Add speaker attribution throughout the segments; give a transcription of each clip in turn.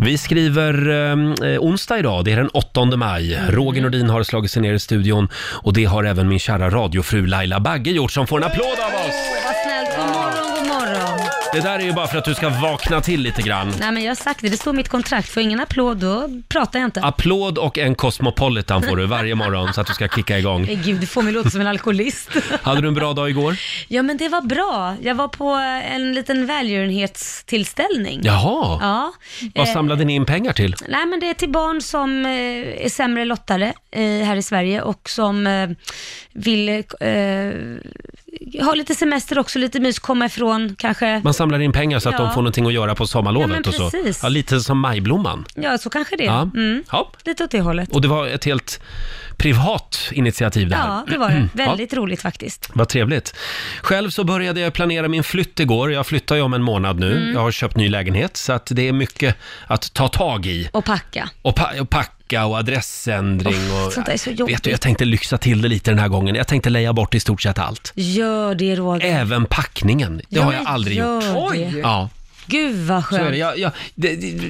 Speaker 1: Vi skriver eh, onsdag idag, det är den 8 maj.
Speaker 2: Mm.
Speaker 1: Roger Nordin har slagit sig ner i studion och det har även min kära radiofru Laila Bagge gjort som får en applåd av oss.
Speaker 2: Åh, vad snällt. God morgon, god morgon.
Speaker 1: Det där är ju bara för att du ska vakna till lite grann.
Speaker 2: Nej, men jag har sagt det. Det står i mitt kontrakt. Får jag ingen applåd, då pratar jag inte.
Speaker 1: Ah. Applåd och en Cosmopolitan får du varje morgon så att du ska kicka igång.
Speaker 2: Nej, Gud, du får mig låta som en alkoholist.
Speaker 1: Hade du en bra dag igår?
Speaker 2: ja, men det var bra. Jag var på en liten välgörenhetstillställning.
Speaker 1: Jaha,
Speaker 2: Ja.
Speaker 1: vad
Speaker 2: Eh,
Speaker 1: samlade ni in pengar till?
Speaker 2: Nej, men det är till barn som eh, är sämre lottade eh, här i Sverige och som eh, vill eh, ha lite semester också, lite mys, komma ifrån kanske.
Speaker 1: Man samlar in pengar så att
Speaker 2: Ja.
Speaker 1: de får någonting att göra på
Speaker 2: Ja, men
Speaker 1: sommarlovet och så.
Speaker 2: precis.
Speaker 1: Ja, lite som Majblomman.
Speaker 2: Ja, så kanske det är.
Speaker 1: Ja.
Speaker 2: Mm.
Speaker 1: Ja.
Speaker 2: Lite åt det hållet.
Speaker 1: Och det var ett helt privat initiativ det här.
Speaker 2: Ja, det var det. Väldigt roligt faktiskt.
Speaker 1: Vad trevligt. Själv så började jag planera min flytt igår. Jag flyttar ju om en månad nu.
Speaker 2: Mm.
Speaker 1: Jag har köpt ny lägenhet så att det är mycket att ta tag i.
Speaker 2: Och packa.
Speaker 1: Och, pa- och packa och adressändring och...
Speaker 2: sånt där är så jobbigt.
Speaker 1: Vet du, jag tänkte lyxa till det lite den här gången. Jag tänkte leja bort i stort sett allt.
Speaker 2: Gör det Roger.
Speaker 1: Även packningen. Det
Speaker 2: Ja,
Speaker 1: har
Speaker 2: men
Speaker 1: jag aldrig
Speaker 2: gör
Speaker 1: gjort.
Speaker 2: det. Oj.
Speaker 1: Ja.
Speaker 2: Gud vad
Speaker 1: Så är
Speaker 2: skönt.
Speaker 1: det. Jag, jag, det, det,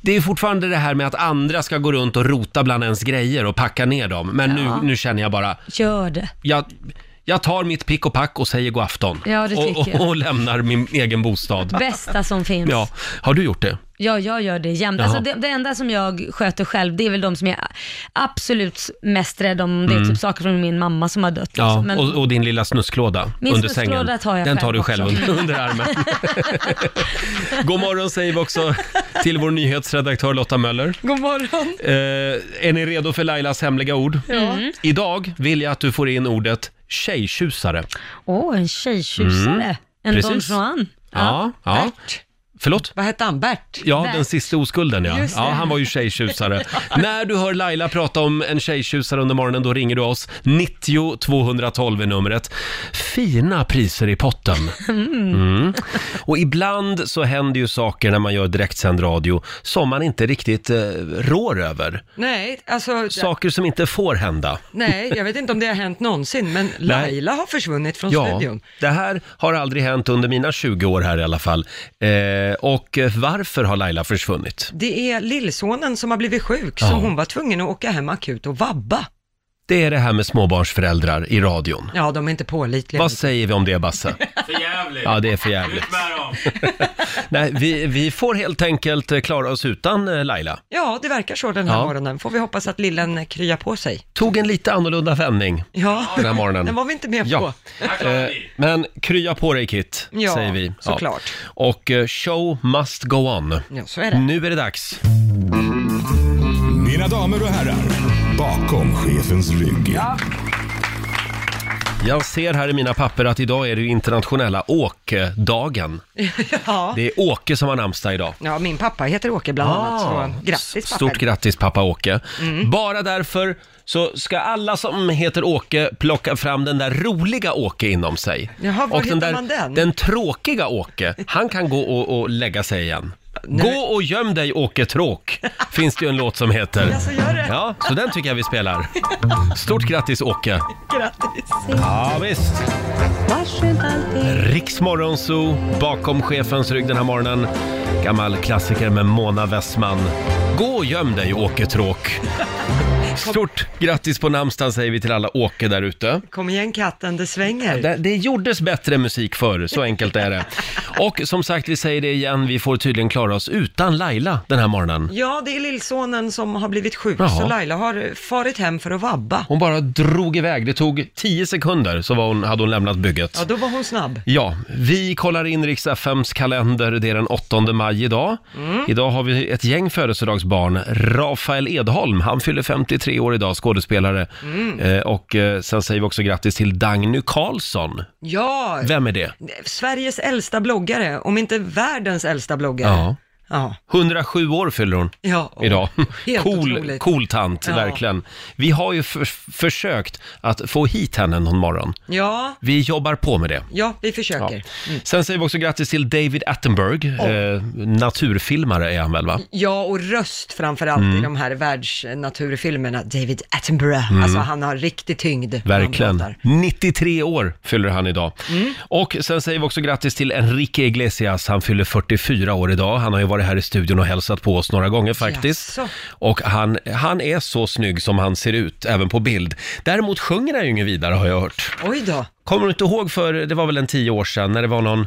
Speaker 1: det är fortfarande det här med att andra ska gå runt och rota bland ens grejer och packa ner dem. Men nu, nu känner jag bara,
Speaker 2: Gör det.
Speaker 1: jag, jag tar mitt pick och pack och säger god afton.
Speaker 2: Ja, det
Speaker 1: och,
Speaker 2: tycker jag.
Speaker 1: och, och lämnar min egen bostad.
Speaker 2: Bästa som finns.
Speaker 1: Ja,
Speaker 2: Ja,
Speaker 1: har du gjort det?
Speaker 2: jag gör det jämt.
Speaker 1: Jaha.
Speaker 2: Alltså, det, det enda som jag sköter själv, det är väl de som jag är absolut mest rädd om. Det är typ saker från min mamma som har dött.
Speaker 1: Mm. Ja,
Speaker 2: liksom. Men
Speaker 1: och, och din lilla snusklåda
Speaker 2: Min
Speaker 1: under sängen.
Speaker 2: snusklåda tar jag
Speaker 1: Den tar
Speaker 2: själv
Speaker 1: du själv
Speaker 2: också.
Speaker 1: under, under armen. god morgon säger vi också till vår nyhetsredaktör Lotta Möller.
Speaker 3: God morgon.
Speaker 1: Eh, är ni redo för Lailas hemliga ord?
Speaker 2: Mm.
Speaker 1: Idag vill jag att du får in ordet tjejtjusare.
Speaker 2: Åh, en tjejtjusare. En
Speaker 1: Mm. Precis.
Speaker 2: Don Juan.
Speaker 1: Ja, ja.
Speaker 3: Bert.
Speaker 1: Förlåt?
Speaker 3: Vad hette han? Bert?
Speaker 1: Ja,
Speaker 2: Där.
Speaker 1: den sista oskulden ja.
Speaker 3: Just det.
Speaker 1: ja han var ju tjejtjusare. När du hör Laila prata om en tjejtjusare under morgonen, då ringer du oss. 90 212 är numret. Fina priser i potten. Mm. Och ibland så händer ju saker när man gör direktsänd radio som man inte riktigt eh, rår över.
Speaker 3: Nej, alltså,
Speaker 1: Saker som inte får hända.
Speaker 3: nej, jag vet inte om det har hänt någonsin, men Laila har försvunnit från
Speaker 1: Ja,
Speaker 3: studion.
Speaker 1: det här har aldrig hänt under mina 20 år här i alla fall. Eh, och eh, varför har Laila försvunnit?
Speaker 3: Det är lillsonen som har blivit sjuk,
Speaker 1: Ja.
Speaker 3: så hon var tvungen att åka hem akut och vabba.
Speaker 1: Det är det här med småbarnsföräldrar i radion.
Speaker 3: Ja, de är inte pålitliga.
Speaker 1: Vad säger vi om det Basse?
Speaker 4: För jävligt.
Speaker 1: Ja, det är för jävligt.
Speaker 4: Ut med dem.
Speaker 1: Nej, vi, vi får helt enkelt eh, klara oss utan eh, Laila.
Speaker 3: Ja, det verkar så den här
Speaker 1: Ja.
Speaker 3: morgonen. Får vi hoppas att lillen kryar på sig.
Speaker 1: Tog en lite annorlunda vändning
Speaker 3: Ja,
Speaker 1: den här
Speaker 3: den
Speaker 1: morgonen.
Speaker 3: var vi inte med
Speaker 1: Ja. Eh,
Speaker 3: på.
Speaker 4: Här klarar vi.
Speaker 1: Men krya på dig Kit,
Speaker 3: Ja,
Speaker 1: säger vi.
Speaker 3: såklart.
Speaker 1: Och eh, show must go on.
Speaker 3: Ja, så är det.
Speaker 1: Nu är det dags.
Speaker 5: Mina damer och herrar, bakom chefens rygg.
Speaker 1: Jag ser här i mina papper att idag är det ju internationella åkdagen.
Speaker 3: Ja.
Speaker 1: Det är Åke som har namnsdag idag.
Speaker 3: ja, min pappa heter Åke bland annat, så grattis pappa.
Speaker 1: Ah,
Speaker 3: Mm.
Speaker 1: Stort grattis pappa Åke. Bara därför så ska alla som heter Åke plocka fram den där roliga Åke inom sig.
Speaker 3: Jaha, var
Speaker 1: den
Speaker 3: hittar
Speaker 1: där
Speaker 3: man den?
Speaker 1: tråkiga Åke, han kan gå och, och lägga sig igen.
Speaker 3: Nej.
Speaker 1: Gå och göm dig Åke Tråk, finns det ju en låt som heter.
Speaker 3: Ja, så gör det.
Speaker 1: Ja, så den tycker jag vi spelar. Stort grattis Åke.
Speaker 3: Grattis.
Speaker 1: Ja, visst. Riksmorgon Zoo, bakom chefens rygg den här morgonen. Gammal klassiker med Mona Westman. Gå och göm dig Åke Tråk. Stort grattis på namnsdagen säger vi till alla Åke där ute.
Speaker 3: Kom igen katten, det svänger.
Speaker 1: Det, det gjordes bättre musik förr, så enkelt är det. Och som sagt, vi säger det igen, vi får tydligen klara oss utan Laila den här morgonen.
Speaker 3: Ja, det är lillsonen som har blivit sjuk,
Speaker 1: Jaha.
Speaker 3: så Laila har farit hem för att vabba.
Speaker 1: Hon bara drog iväg, det tog 10 sekunder så var hon, hade hon lämnat bygget.
Speaker 3: Ja, då var hon snabb.
Speaker 1: Ja, vi kollar in riks FMs kalender. Det är den 8 maj idag.
Speaker 3: Mm.
Speaker 1: Idag har vi ett gäng födelsedagsbarn. Rafael Edholm, han fyller 53 år idag, skådespelare.
Speaker 3: Mm.
Speaker 1: Eh, och eh, sen säger vi också grattis till Dagny Carlsson.
Speaker 3: Ja,
Speaker 1: Vem är det?
Speaker 3: Sveriges äldsta bloggare, om inte världens äldsta bloggare.
Speaker 1: Ja.
Speaker 3: Ja.
Speaker 1: 107 år fyller hon.
Speaker 3: ja.
Speaker 1: Idag.
Speaker 3: Helt
Speaker 1: Cool,
Speaker 3: otroligt.
Speaker 1: cool tant,
Speaker 3: Ja.
Speaker 1: verkligen. Vi har ju för, försökt att få hit henne någon morgon.
Speaker 3: Ja,
Speaker 1: Vi jobbar på med det.
Speaker 3: ja, vi
Speaker 1: Ja.
Speaker 3: försöker. Ja.
Speaker 1: Sen säger vi också grattis till David Attenberg. Eh, naturfilmare är han väl,
Speaker 3: Mm,
Speaker 1: va?
Speaker 3: och röst framförallt i
Speaker 1: Mm.
Speaker 3: de här världsnaturfilmerna. David Attenborough, alltså han har riktig tyngd. när han
Speaker 1: Verkligen.
Speaker 3: pratar.
Speaker 1: 93 år fyller han idag. Och sen säger vi också grattis till Enrique Iglesias. Han fyller 44 år idag. Han har ju varit här i studion och hälsat på oss några gånger faktiskt.
Speaker 3: Jaså.
Speaker 1: Och han, han är så snygg som han ser ut, även på bild. Däremot sjunger han ju inget vidare har jag hört.
Speaker 3: Oj då.
Speaker 1: Kommer du inte ihåg för, det var väl en tio år sedan, när det var någon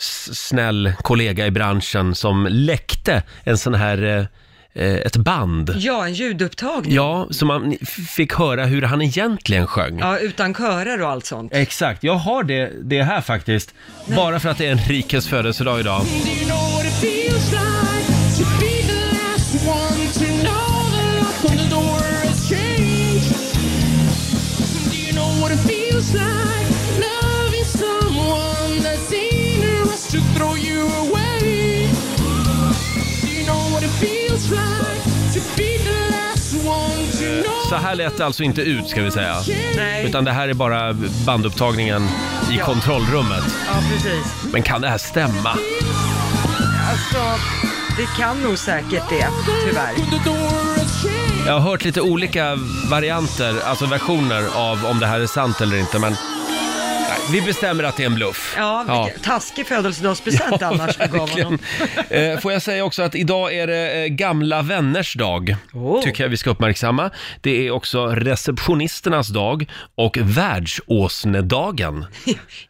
Speaker 1: s- snäll kollega i branschen som läckte en sån här, eh, eh, ett band.
Speaker 3: Ja, en ljudupptagning. Ja.
Speaker 1: Ja, så man f- fick höra hur han egentligen sjöng.
Speaker 3: utan körer och allt sånt.
Speaker 1: Exakt, jag har det, det här faktiskt. Bara för att det är Enriques födelsedag idag.
Speaker 4: Do you know what it feels like to be the last one to know the lock on the door has changed? Do you know what it feels like loving someone that's interested to throw you away? Do you know what it feels like to be the last one to know?
Speaker 1: Så här lät det alltså inte ut ska vi säga.
Speaker 3: Nej,
Speaker 1: Utan det här är bara bandupptagningen i kontrollrummet.
Speaker 3: ja precis.
Speaker 1: Men kan det här stämma?
Speaker 3: Alltså, det kan nog säkert det, tyvärr.
Speaker 4: The door has changed.
Speaker 1: Jag har hört lite olika varianter, alltså versioner av om det här är sant eller inte, men nej, vi bestämmer att det är en bluff.
Speaker 3: Ja, vilken taskig födelsedagspresent annars du gav honom.
Speaker 1: Verkligen. Eh, Får jag säga också att idag är det eh, gamla vänners dag,
Speaker 3: Oh.
Speaker 1: tycker jag vi ska uppmärksamma. Det är också receptionisternas dag och världsåsnedagen.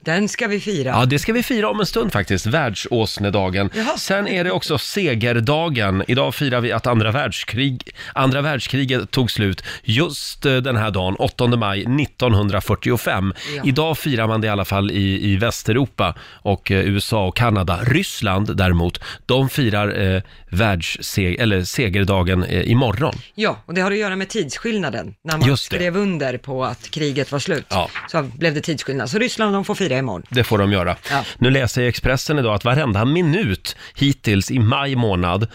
Speaker 3: Den ska vi fira.
Speaker 1: Ja, det ska vi fira om en stund faktiskt, världsåsnedagen.
Speaker 3: Jaha.
Speaker 1: Sen är det också segerdagen. Idag firar vi att andra, världskrig, andra världskriget tog slut just eh, den här dagen, 8 maj 1945.
Speaker 3: Ja.
Speaker 1: Idag firar man det i alla fall i, i Västeuropa och eh, USA och Kanada. Ryssland däremot, de firar eh, världsseg- eller segerdagen eh, imorgon.
Speaker 3: Ja, och det har att göra med tidsskillnaden. När man
Speaker 1: Just det.
Speaker 3: skrev under på att kriget var slut
Speaker 1: Ja.
Speaker 3: så blev det tidsskillnad. Så Ryssland de får fira imorgon.
Speaker 1: Det får de göra.
Speaker 3: Ja.
Speaker 1: Nu läser jag i Expressen idag att varenda minut hittills i maj månad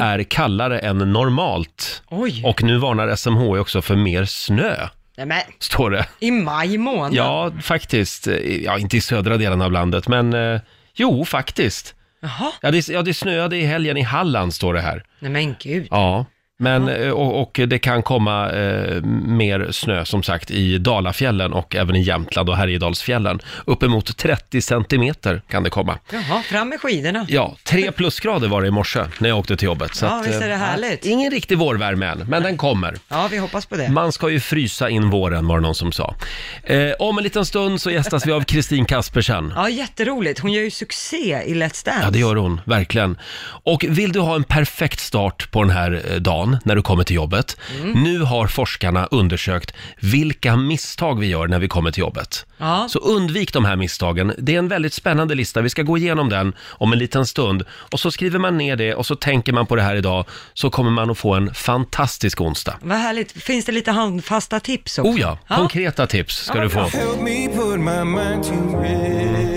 Speaker 1: är kallare än normalt.
Speaker 3: Oj.
Speaker 1: Och nu varnar SMH också för mer snö,
Speaker 3: Nej, men
Speaker 1: står det.
Speaker 3: i maj månad.
Speaker 1: Ja, faktiskt. Ja, inte i södra delen av landet, men eh, jo, faktiskt.
Speaker 3: Jaha,
Speaker 1: Ja det, ja, det snöade i helgen i Halland, står det här.
Speaker 3: nej men gud.
Speaker 1: Ja. Men, eh, och, och det kan komma eh, mer snö som sagt i Dalafjällen och även i Jämtland och Härjedalsfjällen. Uppemot 30 centimeter kan det komma.
Speaker 3: Jaha, fram med skidorna.
Speaker 1: Ja, tre plusgrader var det i morse när jag åkte till jobbet. Så
Speaker 3: Ja,
Speaker 1: att,
Speaker 3: visst är det
Speaker 1: eh,
Speaker 3: härligt.
Speaker 1: Ingen riktig vårvärme än, men den kommer.
Speaker 3: Ja, vi hoppas på det.
Speaker 1: Man ska ju frysa in våren var det någon som sa. Eh, om en liten stund så gästas vi av Kristin Kaspersen.
Speaker 3: Ja, jätteroligt. Hon gör ju succé i Let's Dance.
Speaker 1: Ja, det gör hon, verkligen. Och vill du ha en perfekt start på den här eh, dagen när du kommer till jobbet? Nu har forskarna undersökt vilka misstag vi gör när vi kommer till jobbet.
Speaker 3: Ja.
Speaker 1: Så undvik de här misstagen. Det är en väldigt spännande lista. Vi ska gå igenom den om en liten stund. Och så skriver man ner det och så tänker man på det här idag så kommer man att få en fantastisk onsdag.
Speaker 3: Vad härligt. Finns det lite handfasta tips också?
Speaker 1: Oh ja, konkreta tips ska du få.
Speaker 5: Help me put my mind to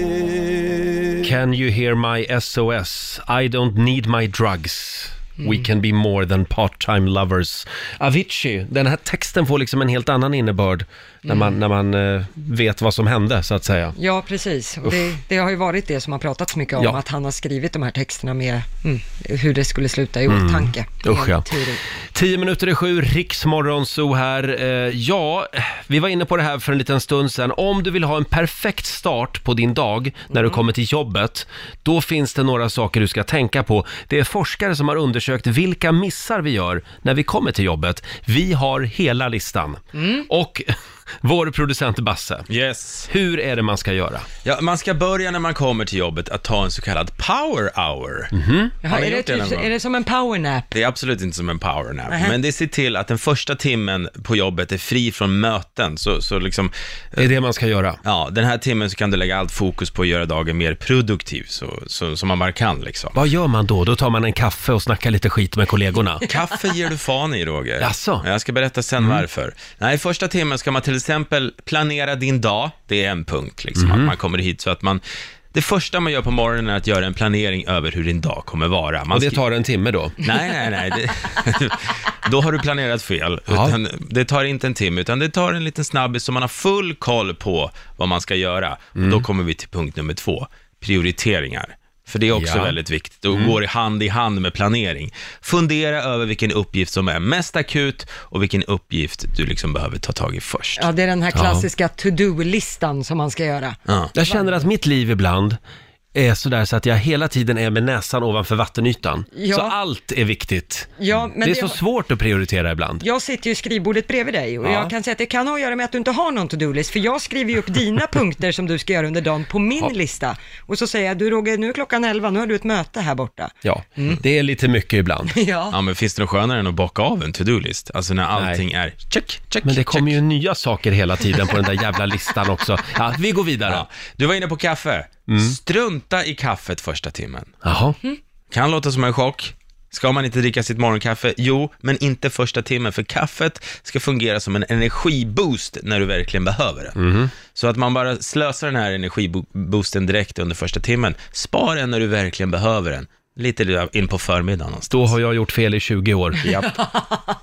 Speaker 5: it.
Speaker 1: Can you hear my SOS? I don't need my drugs. We can be more than part-time lovers. Avicii, den här texten får liksom en helt annan innebörd när man, när man eh, vet vad som hände, så att säga.
Speaker 3: Ja, precis. Och Det, det har ju varit det som har pratats mycket om,
Speaker 1: Ja.
Speaker 3: att han har skrivit de här texterna med mm, hur det skulle sluta i åtanke.
Speaker 1: Mm. Usch ja.
Speaker 3: En teori.
Speaker 1: Tio minuter i sju, Riksmorgonzoo här. Eh, ja, vi var inne på det här för en liten stund sedan. Om du vill ha en perfekt start på din dag när du kommer till jobbet, då finns det några saker du ska tänka på. Det är forskare som har undersökt vilka missar vi gör när vi kommer till jobbet. Vi har hela listan. Och vår producent Basse,
Speaker 6: Yes.
Speaker 1: hur är det man ska göra?
Speaker 6: Ja, man ska börja när man kommer till jobbet att ta en så kallad power hour.
Speaker 3: Jaha,
Speaker 6: Har
Speaker 3: är,
Speaker 6: jag
Speaker 3: det
Speaker 6: gjort det
Speaker 3: typ,
Speaker 6: någon gång?
Speaker 3: är det som en powernap?
Speaker 6: Det är absolut inte som en power nap,
Speaker 3: Nähä.
Speaker 6: men det ser till att den första timmen på jobbet är fri från möten, så, så liksom,
Speaker 1: Det är det man ska göra.
Speaker 6: ja, den här timmen så kan du lägga allt fokus på att göra dagen mer produktiv, så, så, som man bara kan liksom.
Speaker 1: Vad gör man då? Då tar man en kaffe och snackar lite skit med kollegorna.
Speaker 6: Kaffe ger du fan i, Roger.
Speaker 1: Jaså? Mm.
Speaker 6: Jag ska berätta sen varför. Nej, första timmen ska man till exempel planera din dag. Det är en punkt, liksom,
Speaker 1: Mhm.
Speaker 6: att man kommer hit så att man... Det första man gör på morgonen är att göra en planering över hur din dag kommer vara. Man
Speaker 1: Och det
Speaker 6: skri-
Speaker 1: tar en timme då.
Speaker 6: Nej, nej, nej. Det, då har du planerat fel.
Speaker 1: Ja.
Speaker 6: Utan, det tar inte en timme, utan det tar en liten snabbis så man har full koll på vad man ska göra.
Speaker 1: Mm.
Speaker 6: Då kommer vi till punkt nummer två, prioriteringar. För det är också
Speaker 1: Ja. Mm.
Speaker 6: väldigt viktigt och går i hand i hand med planering. Fundera över vilken uppgift som är mest akut och vilken uppgift du liksom behöver ta tag i först.
Speaker 3: Ja, det är den här klassiska to-do-listan som man ska göra.
Speaker 6: Ja.
Speaker 1: Jag känner att mitt liv ibland eh, är sådär så att jag hela tiden är med näsan ovanför vattenytan.
Speaker 3: Ja.
Speaker 1: Så allt är viktigt.
Speaker 3: Ja, men
Speaker 1: Mm. det är
Speaker 3: det
Speaker 1: så
Speaker 3: har-
Speaker 1: svårt att prioritera ibland.
Speaker 3: Jag sitter ju i skrivbordet bredvid dig och
Speaker 1: Ja.
Speaker 3: jag kan säga att det kan ha att göra med att du inte har någon to-do-list, för jag skriver ju upp dina punkter som du ska göra under dagen på min lista. Och så säger jag, du Roger, nu är klockan 11, nu har du ett möte här borta.
Speaker 1: Ja,
Speaker 6: Mm.
Speaker 1: det är lite mycket ibland.
Speaker 3: Ja,
Speaker 6: Ja, men finns det något skönare än att bocka av en to-do-list? Alltså när allting är check, check,
Speaker 1: Men det
Speaker 6: check.
Speaker 1: kommer ju nya saker hela tiden på den där jävla listan också. Ja, vi går vidare.
Speaker 6: Ja. Du var inne på kaffe.
Speaker 1: Mm.
Speaker 6: Strunta i kaffet första timmen.
Speaker 1: Jaha.
Speaker 6: Kan låta som en chock. Ska man inte dricka sitt morgonkaffe? Jo, men inte första timmen, för kaffet ska fungera som en energiboost när du verkligen behöver det.
Speaker 1: Mhm.
Speaker 6: Så att man bara slösar den här energiboosten direkt under första timmen. Spar den när du verkligen behöver den. Lite in på förmiddagen någonstans.
Speaker 1: Då har jag gjort fel i 20 år.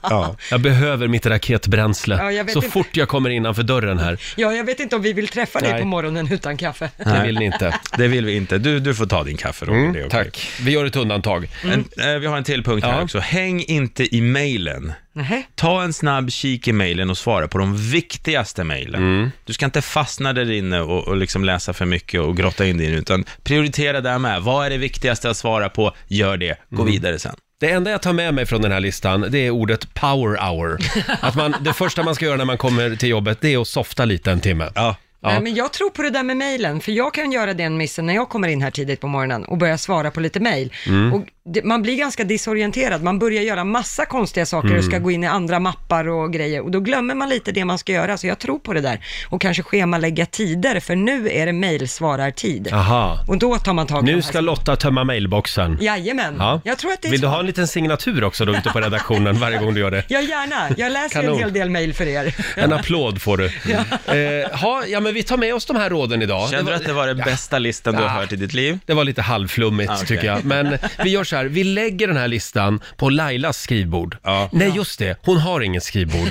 Speaker 6: Ja.
Speaker 1: Jag behöver mitt raketbränsle
Speaker 3: Ja, jag vet
Speaker 1: så
Speaker 3: inte.
Speaker 1: fort jag kommer innanför dörren här.
Speaker 3: ja jag vet inte om vi vill träffa dig
Speaker 1: Nej.
Speaker 3: på morgonen utan kaffe.
Speaker 1: Det vill ni inte.
Speaker 6: Det vill vi inte. Du, du får ta din kaffe, Roger. det är okej.
Speaker 1: Mm, Tack. Vi gör ett undantag.
Speaker 6: En, eh, vi har en till punkt
Speaker 1: Ja.
Speaker 6: här också. Häng inte i mejlen.
Speaker 3: Nej.
Speaker 6: Ta en snabb kik i mejlen och svara på de viktigaste mejlen.
Speaker 1: Mm.
Speaker 6: Du ska inte fastna där inne och, och liksom läsa för mycket och grotta in dig i det, utan prioritera där med. Vad är det viktigaste att svara på? Gör det. Gå
Speaker 1: Mm.
Speaker 6: vidare sen.
Speaker 1: Det enda jag tar med mig från den här listan, det är ordet power hour. Att man, det första man ska göra när man kommer till jobbet, det är att softa lite en timme.
Speaker 6: Ja.
Speaker 3: Nej, men jag tror på det där med mejlen, för jag kan göra den missen när jag kommer in här tidigt på morgonen och börjar svara på lite mejl.
Speaker 1: Mm.
Speaker 3: Och det- Man blir ganska disorienterad, man börjar göra massa konstiga saker och
Speaker 1: Mm.
Speaker 3: ska gå in i andra mappar och grejer och då glömmer man lite det man ska göra, så jag tror på det där. Och kanske schemalägga tider, för nu är det mejlsvarartid.
Speaker 1: Aha.
Speaker 3: Och då tar man tag i de
Speaker 1: Nu
Speaker 3: här
Speaker 1: ska Lotta tömma mailboxen.
Speaker 3: Jajamän,
Speaker 1: Ja.
Speaker 3: jag tror att det är
Speaker 1: Vill du
Speaker 3: så.
Speaker 1: ha en liten signatur också då ute på redaktionen varje gång du gör det?
Speaker 3: Ja, gärna. Jag läser
Speaker 1: Kanon.
Speaker 3: en hel del mejl för er.
Speaker 1: En applåd får du. Eh, ha, ja, men vi tar med oss de här råden idag.
Speaker 6: Kände
Speaker 1: Det var-
Speaker 6: du att det var den bästa listan du
Speaker 1: Ja.
Speaker 6: har hört i ditt liv?
Speaker 1: Det var lite halvflummigt
Speaker 6: okej.
Speaker 1: tycker jag. Men vi gör så här, vi lägger den här listan på Lailas skrivbord.
Speaker 6: Ja.
Speaker 1: Nej, just det. Hon har inget skrivbord.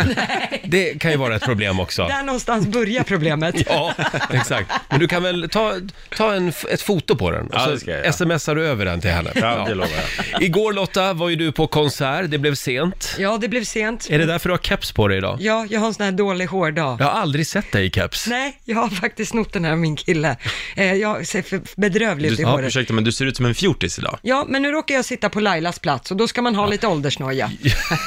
Speaker 1: det kan ju vara ett problem också.
Speaker 3: Där någonstans börjar problemet.
Speaker 1: Ja, exakt. Men du kan väl ta, ta en, f- ett foto på den och
Speaker 6: Ja,
Speaker 1: så
Speaker 6: det ska jag göra.
Speaker 1: smsar du över den till henne.
Speaker 6: det lovar
Speaker 1: Igår Lotta var ju du på konsert, det blev sent.
Speaker 3: Ja, det blev sent.
Speaker 1: Är det därför du har keps på dig idag?
Speaker 3: Ja, jag har en sån här dålig hårdag.
Speaker 1: Jag har aldrig sett dig i keps.
Speaker 3: Nej, jag har faktiskt snott den här av min kille. Eh, jag ser för bedrövlig ut
Speaker 6: Du,
Speaker 3: i
Speaker 6: ja,
Speaker 3: håret.
Speaker 6: ursäkta, men du ser ut som en fjortis idag.
Speaker 3: Ja, men nu råkar jag sitta på Lailas plats och då ska man ha lite åldersnoja.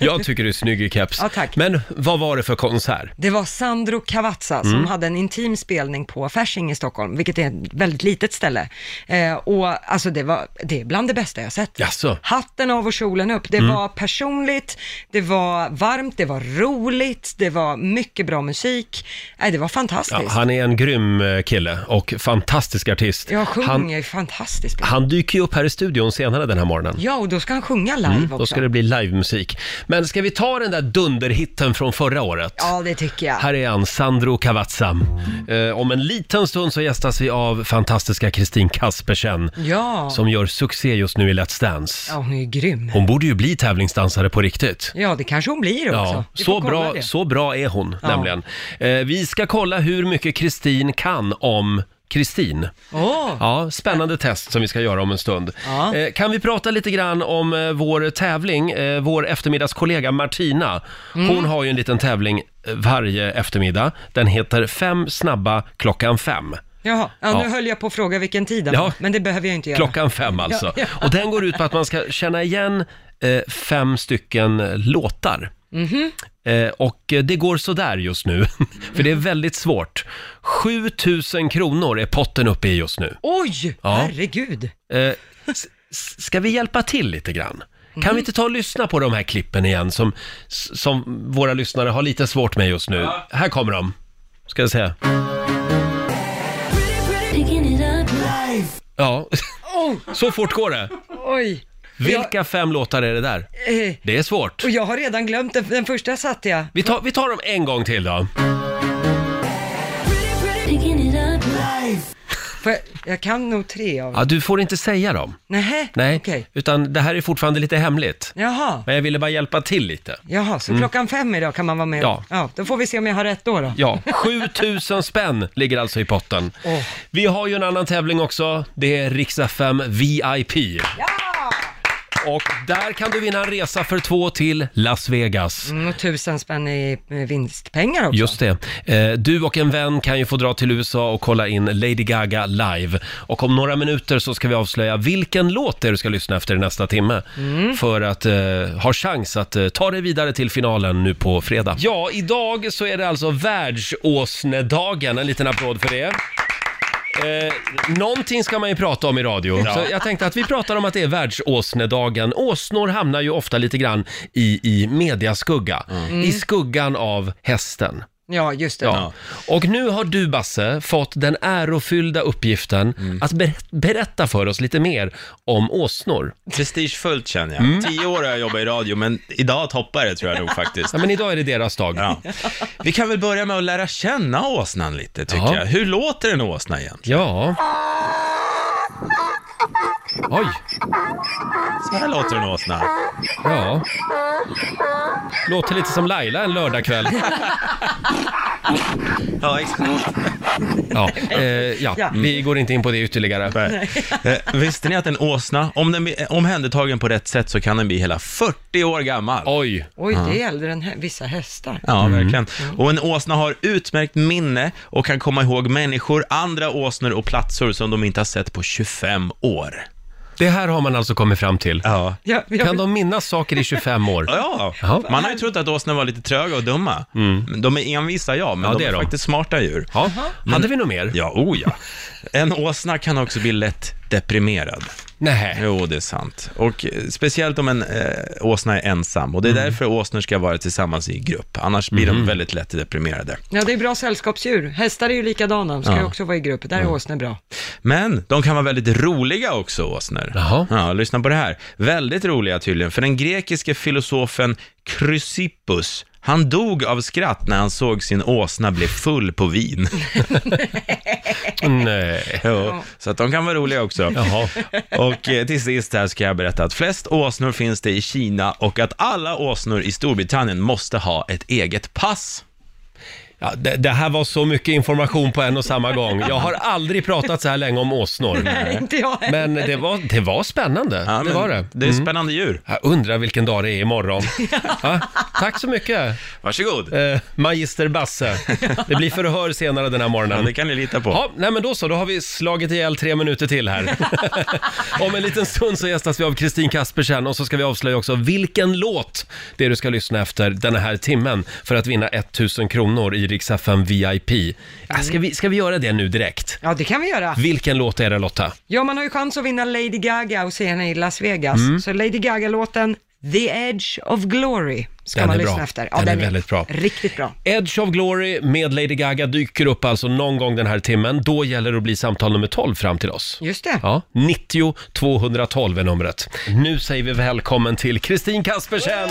Speaker 1: Jag tycker du är snygg i keps.
Speaker 3: Ja, tack.
Speaker 1: Men vad var det för konsert?
Speaker 3: Det var Sandro Cavazza
Speaker 1: Mm.
Speaker 3: som hade en intim spelning på Fasching i Stockholm, vilket är ett väldigt litet ställe. Eh, och alltså det, var, det är bland det bästa jag sett.
Speaker 1: Jaså? Mm.
Speaker 3: Hatten av och kjolen upp. Det var personligt, det var varmt, det var roligt, det var mycket bra musik. Nej, det var fantastiskt.
Speaker 1: Ja, han är en grym eh, kille och fantastisk artist.
Speaker 3: Jag sjunger
Speaker 1: han,
Speaker 3: ju fantastiskt bra.
Speaker 1: han dyker ju upp här i studion senare den här morgonen.
Speaker 3: Ja, och då ska han sjunga live också.
Speaker 1: Mm, Då ska det bli livemusik. Men ska vi ta den där dunderhitten från förra året?
Speaker 3: Ja, det tycker jag.
Speaker 1: Här är han, Sandro Cavazza. Eh, om en liten stund så gästas vi av fantastiska Kristin Kaspersen
Speaker 3: Ja,
Speaker 1: som gör succé just nu i Let's Dance.
Speaker 3: ja hon är ju grym.
Speaker 1: Hon borde ju bli tävlingsdansare på riktigt.
Speaker 3: Ja, det kanske hon blir också.
Speaker 1: Ja,
Speaker 3: Vi
Speaker 1: så
Speaker 3: får kolla
Speaker 1: bra,
Speaker 3: det.
Speaker 1: så bra är hon
Speaker 3: Ja.
Speaker 1: nämligen. Eh, vi ska kolla hur mycket Kristin kan om Kristin.
Speaker 3: Åh,
Speaker 1: Ja, spännande test som vi ska göra om en stund.
Speaker 3: Ja.
Speaker 1: Eh, kan vi prata lite grann om eh, vår tävling? Eh, vår eftermiddagskollega Martina,
Speaker 3: Mm.
Speaker 1: hon har ju en liten tävling eh, varje eftermiddag. Den heter Fem snabba klockan fem.
Speaker 3: Jaha, ja, nu
Speaker 1: Ja.
Speaker 3: höll jag på att fråga vilken tid det
Speaker 1: Ja.
Speaker 3: var, men det behöver jag inte göra.
Speaker 1: Klockan fem alltså.
Speaker 3: Ja,
Speaker 1: Och den går ut på att man ska känna igen eh, fem stycken eh, låtar.
Speaker 3: Mm-hmm.
Speaker 1: Eh, och eh, det går sådär just nu, för det är väldigt svårt. 7000 kronor är potten uppe i just nu.
Speaker 3: Oj,
Speaker 1: Ja.
Speaker 3: herregud.
Speaker 1: Eh, s- s- ska vi hjälpa till lite grann? Kan vi inte ta och lyssna på de här klippen igen som, s- som våra lyssnare har lite svårt med just nu? Här kommer de. Ska jag säga. Ja, så fort går det.
Speaker 3: Oj.
Speaker 1: Vilka fem låtar är det där?
Speaker 3: Eh,
Speaker 1: Det är svårt.
Speaker 3: och jag har redan glömt den, den första satte jag.
Speaker 1: Vi tar, vi tar dem en gång till då.
Speaker 3: Får jag, jag kan nog tre av
Speaker 1: Ja,
Speaker 3: dem.
Speaker 1: du får inte säga dem.
Speaker 3: Nähä,
Speaker 1: Nej,
Speaker 3: okej.
Speaker 1: utan det här är fortfarande lite hemligt.
Speaker 3: Jaha.
Speaker 1: Men jag ville bara hjälpa till lite.
Speaker 3: Jaha, så klockan fem idag kan man vara med?
Speaker 1: Mm. Ja.
Speaker 3: ja. Då får vi se om jag har rätt då. då.
Speaker 1: Ja, 7000 spänn ligger alltså i potten.
Speaker 3: Åh.
Speaker 1: Vi har ju en annan tävling också. Det är Rix FM VIP. Och där kan du vinna en resa för två till Las Vegas.
Speaker 3: Mm, och tusen spänn i eh, vinstpengar också.
Speaker 1: Just det. Eh, Du och en vän kan ju få dra till USA och kolla in Lady Gaga live. Och om några minuter så ska vi avslöja vilken låt det är du ska lyssna efter i nästa timme. För att eh, ha chans att eh, ta dig vidare till finalen nu på fredag. Ja, idag så är det alltså världsåsnedagen. En liten applåd för det. Eh, någonting ska man ju prata om i radio. Så jag tänkte att vi pratar om att det är världsåsnedagen. Åsnor hamnar ju ofta lite grann i, i mediaskugga. I skuggan av hästen.
Speaker 3: Ja, just det.
Speaker 1: Ja. Och nu har du, Basse, fått den ärofyllda uppgiften att ber- berätta för oss lite mer om åsnor.
Speaker 6: Prestigefullt känner jag.
Speaker 1: Mm.
Speaker 6: Tio år har jag jobbat i radio, men idag toppar det tror jag nog faktiskt.
Speaker 1: Ja, men idag är det deras dag.
Speaker 6: Ja. Vi kan väl börja med att lära känna åsnan lite, tycker
Speaker 1: Ja.
Speaker 6: jag. Hur låter en åsna egentligen?
Speaker 1: Ja. Oj,
Speaker 6: Så här låter en åsna.
Speaker 1: ja. Låter lite som Laila en lördagkväll.
Speaker 6: Ja, exakt.
Speaker 1: Ja, eh, ja.
Speaker 3: Ja.
Speaker 1: Vi går inte in på det ytterligare.
Speaker 6: Eh, Visste ni att en åsna, om den blir eh, omhändertagen på rätt sätt så kan den bli hela 40 år gammal.
Speaker 1: Oj,
Speaker 3: Oj, det är äldre än hä- vissa hästar.
Speaker 6: Ja,
Speaker 1: Mm.
Speaker 6: verkligen. Och en åsna har utmärkt minne och kan komma ihåg människor, andra åsnor och platser som de inte har sett på 25 år.
Speaker 1: det här har man alltså kommit fram till.
Speaker 6: Ja.
Speaker 3: Ja, jag
Speaker 1: Kan de minnas saker i 25 år?
Speaker 6: Ja,
Speaker 1: Jaha.
Speaker 6: man har ju trott att åsnor var lite tröga och dumma. Men De är envisa, ja, men
Speaker 1: Mm. Ja,
Speaker 6: de
Speaker 1: det
Speaker 6: är
Speaker 1: är de.
Speaker 6: faktiskt smarta djur.
Speaker 1: Ja. Hade vi något mer?
Speaker 6: Ja, oh ja. En åsna kan också bli lätt deprimerad.
Speaker 1: Nej.
Speaker 6: Jo, det är sant. Och eh, speciellt om en eh, åsna är ensam. Och det är
Speaker 1: Mm.
Speaker 6: därför åsnor ska vara tillsammans i grupp. Annars blir de väldigt lätt deprimerade.
Speaker 3: Ja, det är bra sällskapsdjur. Hästar är ju likadana, de ska
Speaker 6: Ja.
Speaker 3: ju också vara i grupp. Där är åsnor bra.
Speaker 6: Men de kan vara väldigt roliga också, åsnor.
Speaker 1: Jaha.
Speaker 6: Ja, lyssna på det här. Väldigt roliga tydligen, för den grekiske filosofen Chrysippus, han dog av skratt när han såg sin åsna bli full på vin.
Speaker 1: Nej.
Speaker 6: Jo, så att de kan vara roliga också.
Speaker 1: Jaha.
Speaker 6: Och eh, till sist här ska jag berätta att flest åsnor finns det i Kina och att alla åsnor i Storbritannien måste ha ett eget pass.
Speaker 1: Ja, det, det här var så mycket information på en och samma gång. Jag har aldrig pratat så här länge om åsnor.
Speaker 3: Nej, inte jag heller.
Speaker 1: Men det var, det var spännande.
Speaker 6: Ja,
Speaker 1: det
Speaker 6: men
Speaker 1: var det. Mm.
Speaker 6: Det är spännande djur.
Speaker 1: Jag undrar vilken dag det är imorgon. Ja, tack så mycket,
Speaker 6: Varsågod.
Speaker 1: eh, magister Basse. Det blir förhör senare den här
Speaker 6: Ja, det
Speaker 1: morgonen.
Speaker 6: kan ni lita på.
Speaker 1: Ja, nej men då så, då har vi slagit ihjäl tre minuter till här. Om en liten stund så gästas vi av Kristin Kaspersen och så ska vi avslöja också vilken låt det är du ska lyssna efter den här timmen för att vinna 1000 kronor i Rix FM VIP. Ja, ska, vi, ska vi göra det nu direkt?
Speaker 3: Ja, det kan vi göra.
Speaker 1: Vilken låt är det Lotta?
Speaker 3: Ja, man har ju chans att vinna Lady Gaga och se henne i Las Vegas.
Speaker 1: Mm.
Speaker 3: Så Lady Gaga-låten The Edge of Glory ska
Speaker 1: Den
Speaker 3: man
Speaker 1: är bra.
Speaker 3: lyssna efter.
Speaker 1: Den är väldigt bra.
Speaker 3: Riktigt bra.
Speaker 1: Edge of Glory med Lady Gaga dyker upp alltså någon gång den här timmen. Då gäller det att bli samtal nummer 12 fram till oss.
Speaker 3: Just det.
Speaker 1: Ja, 90 212 är numret. Nu säger vi välkommen till Kristin Kaspersen!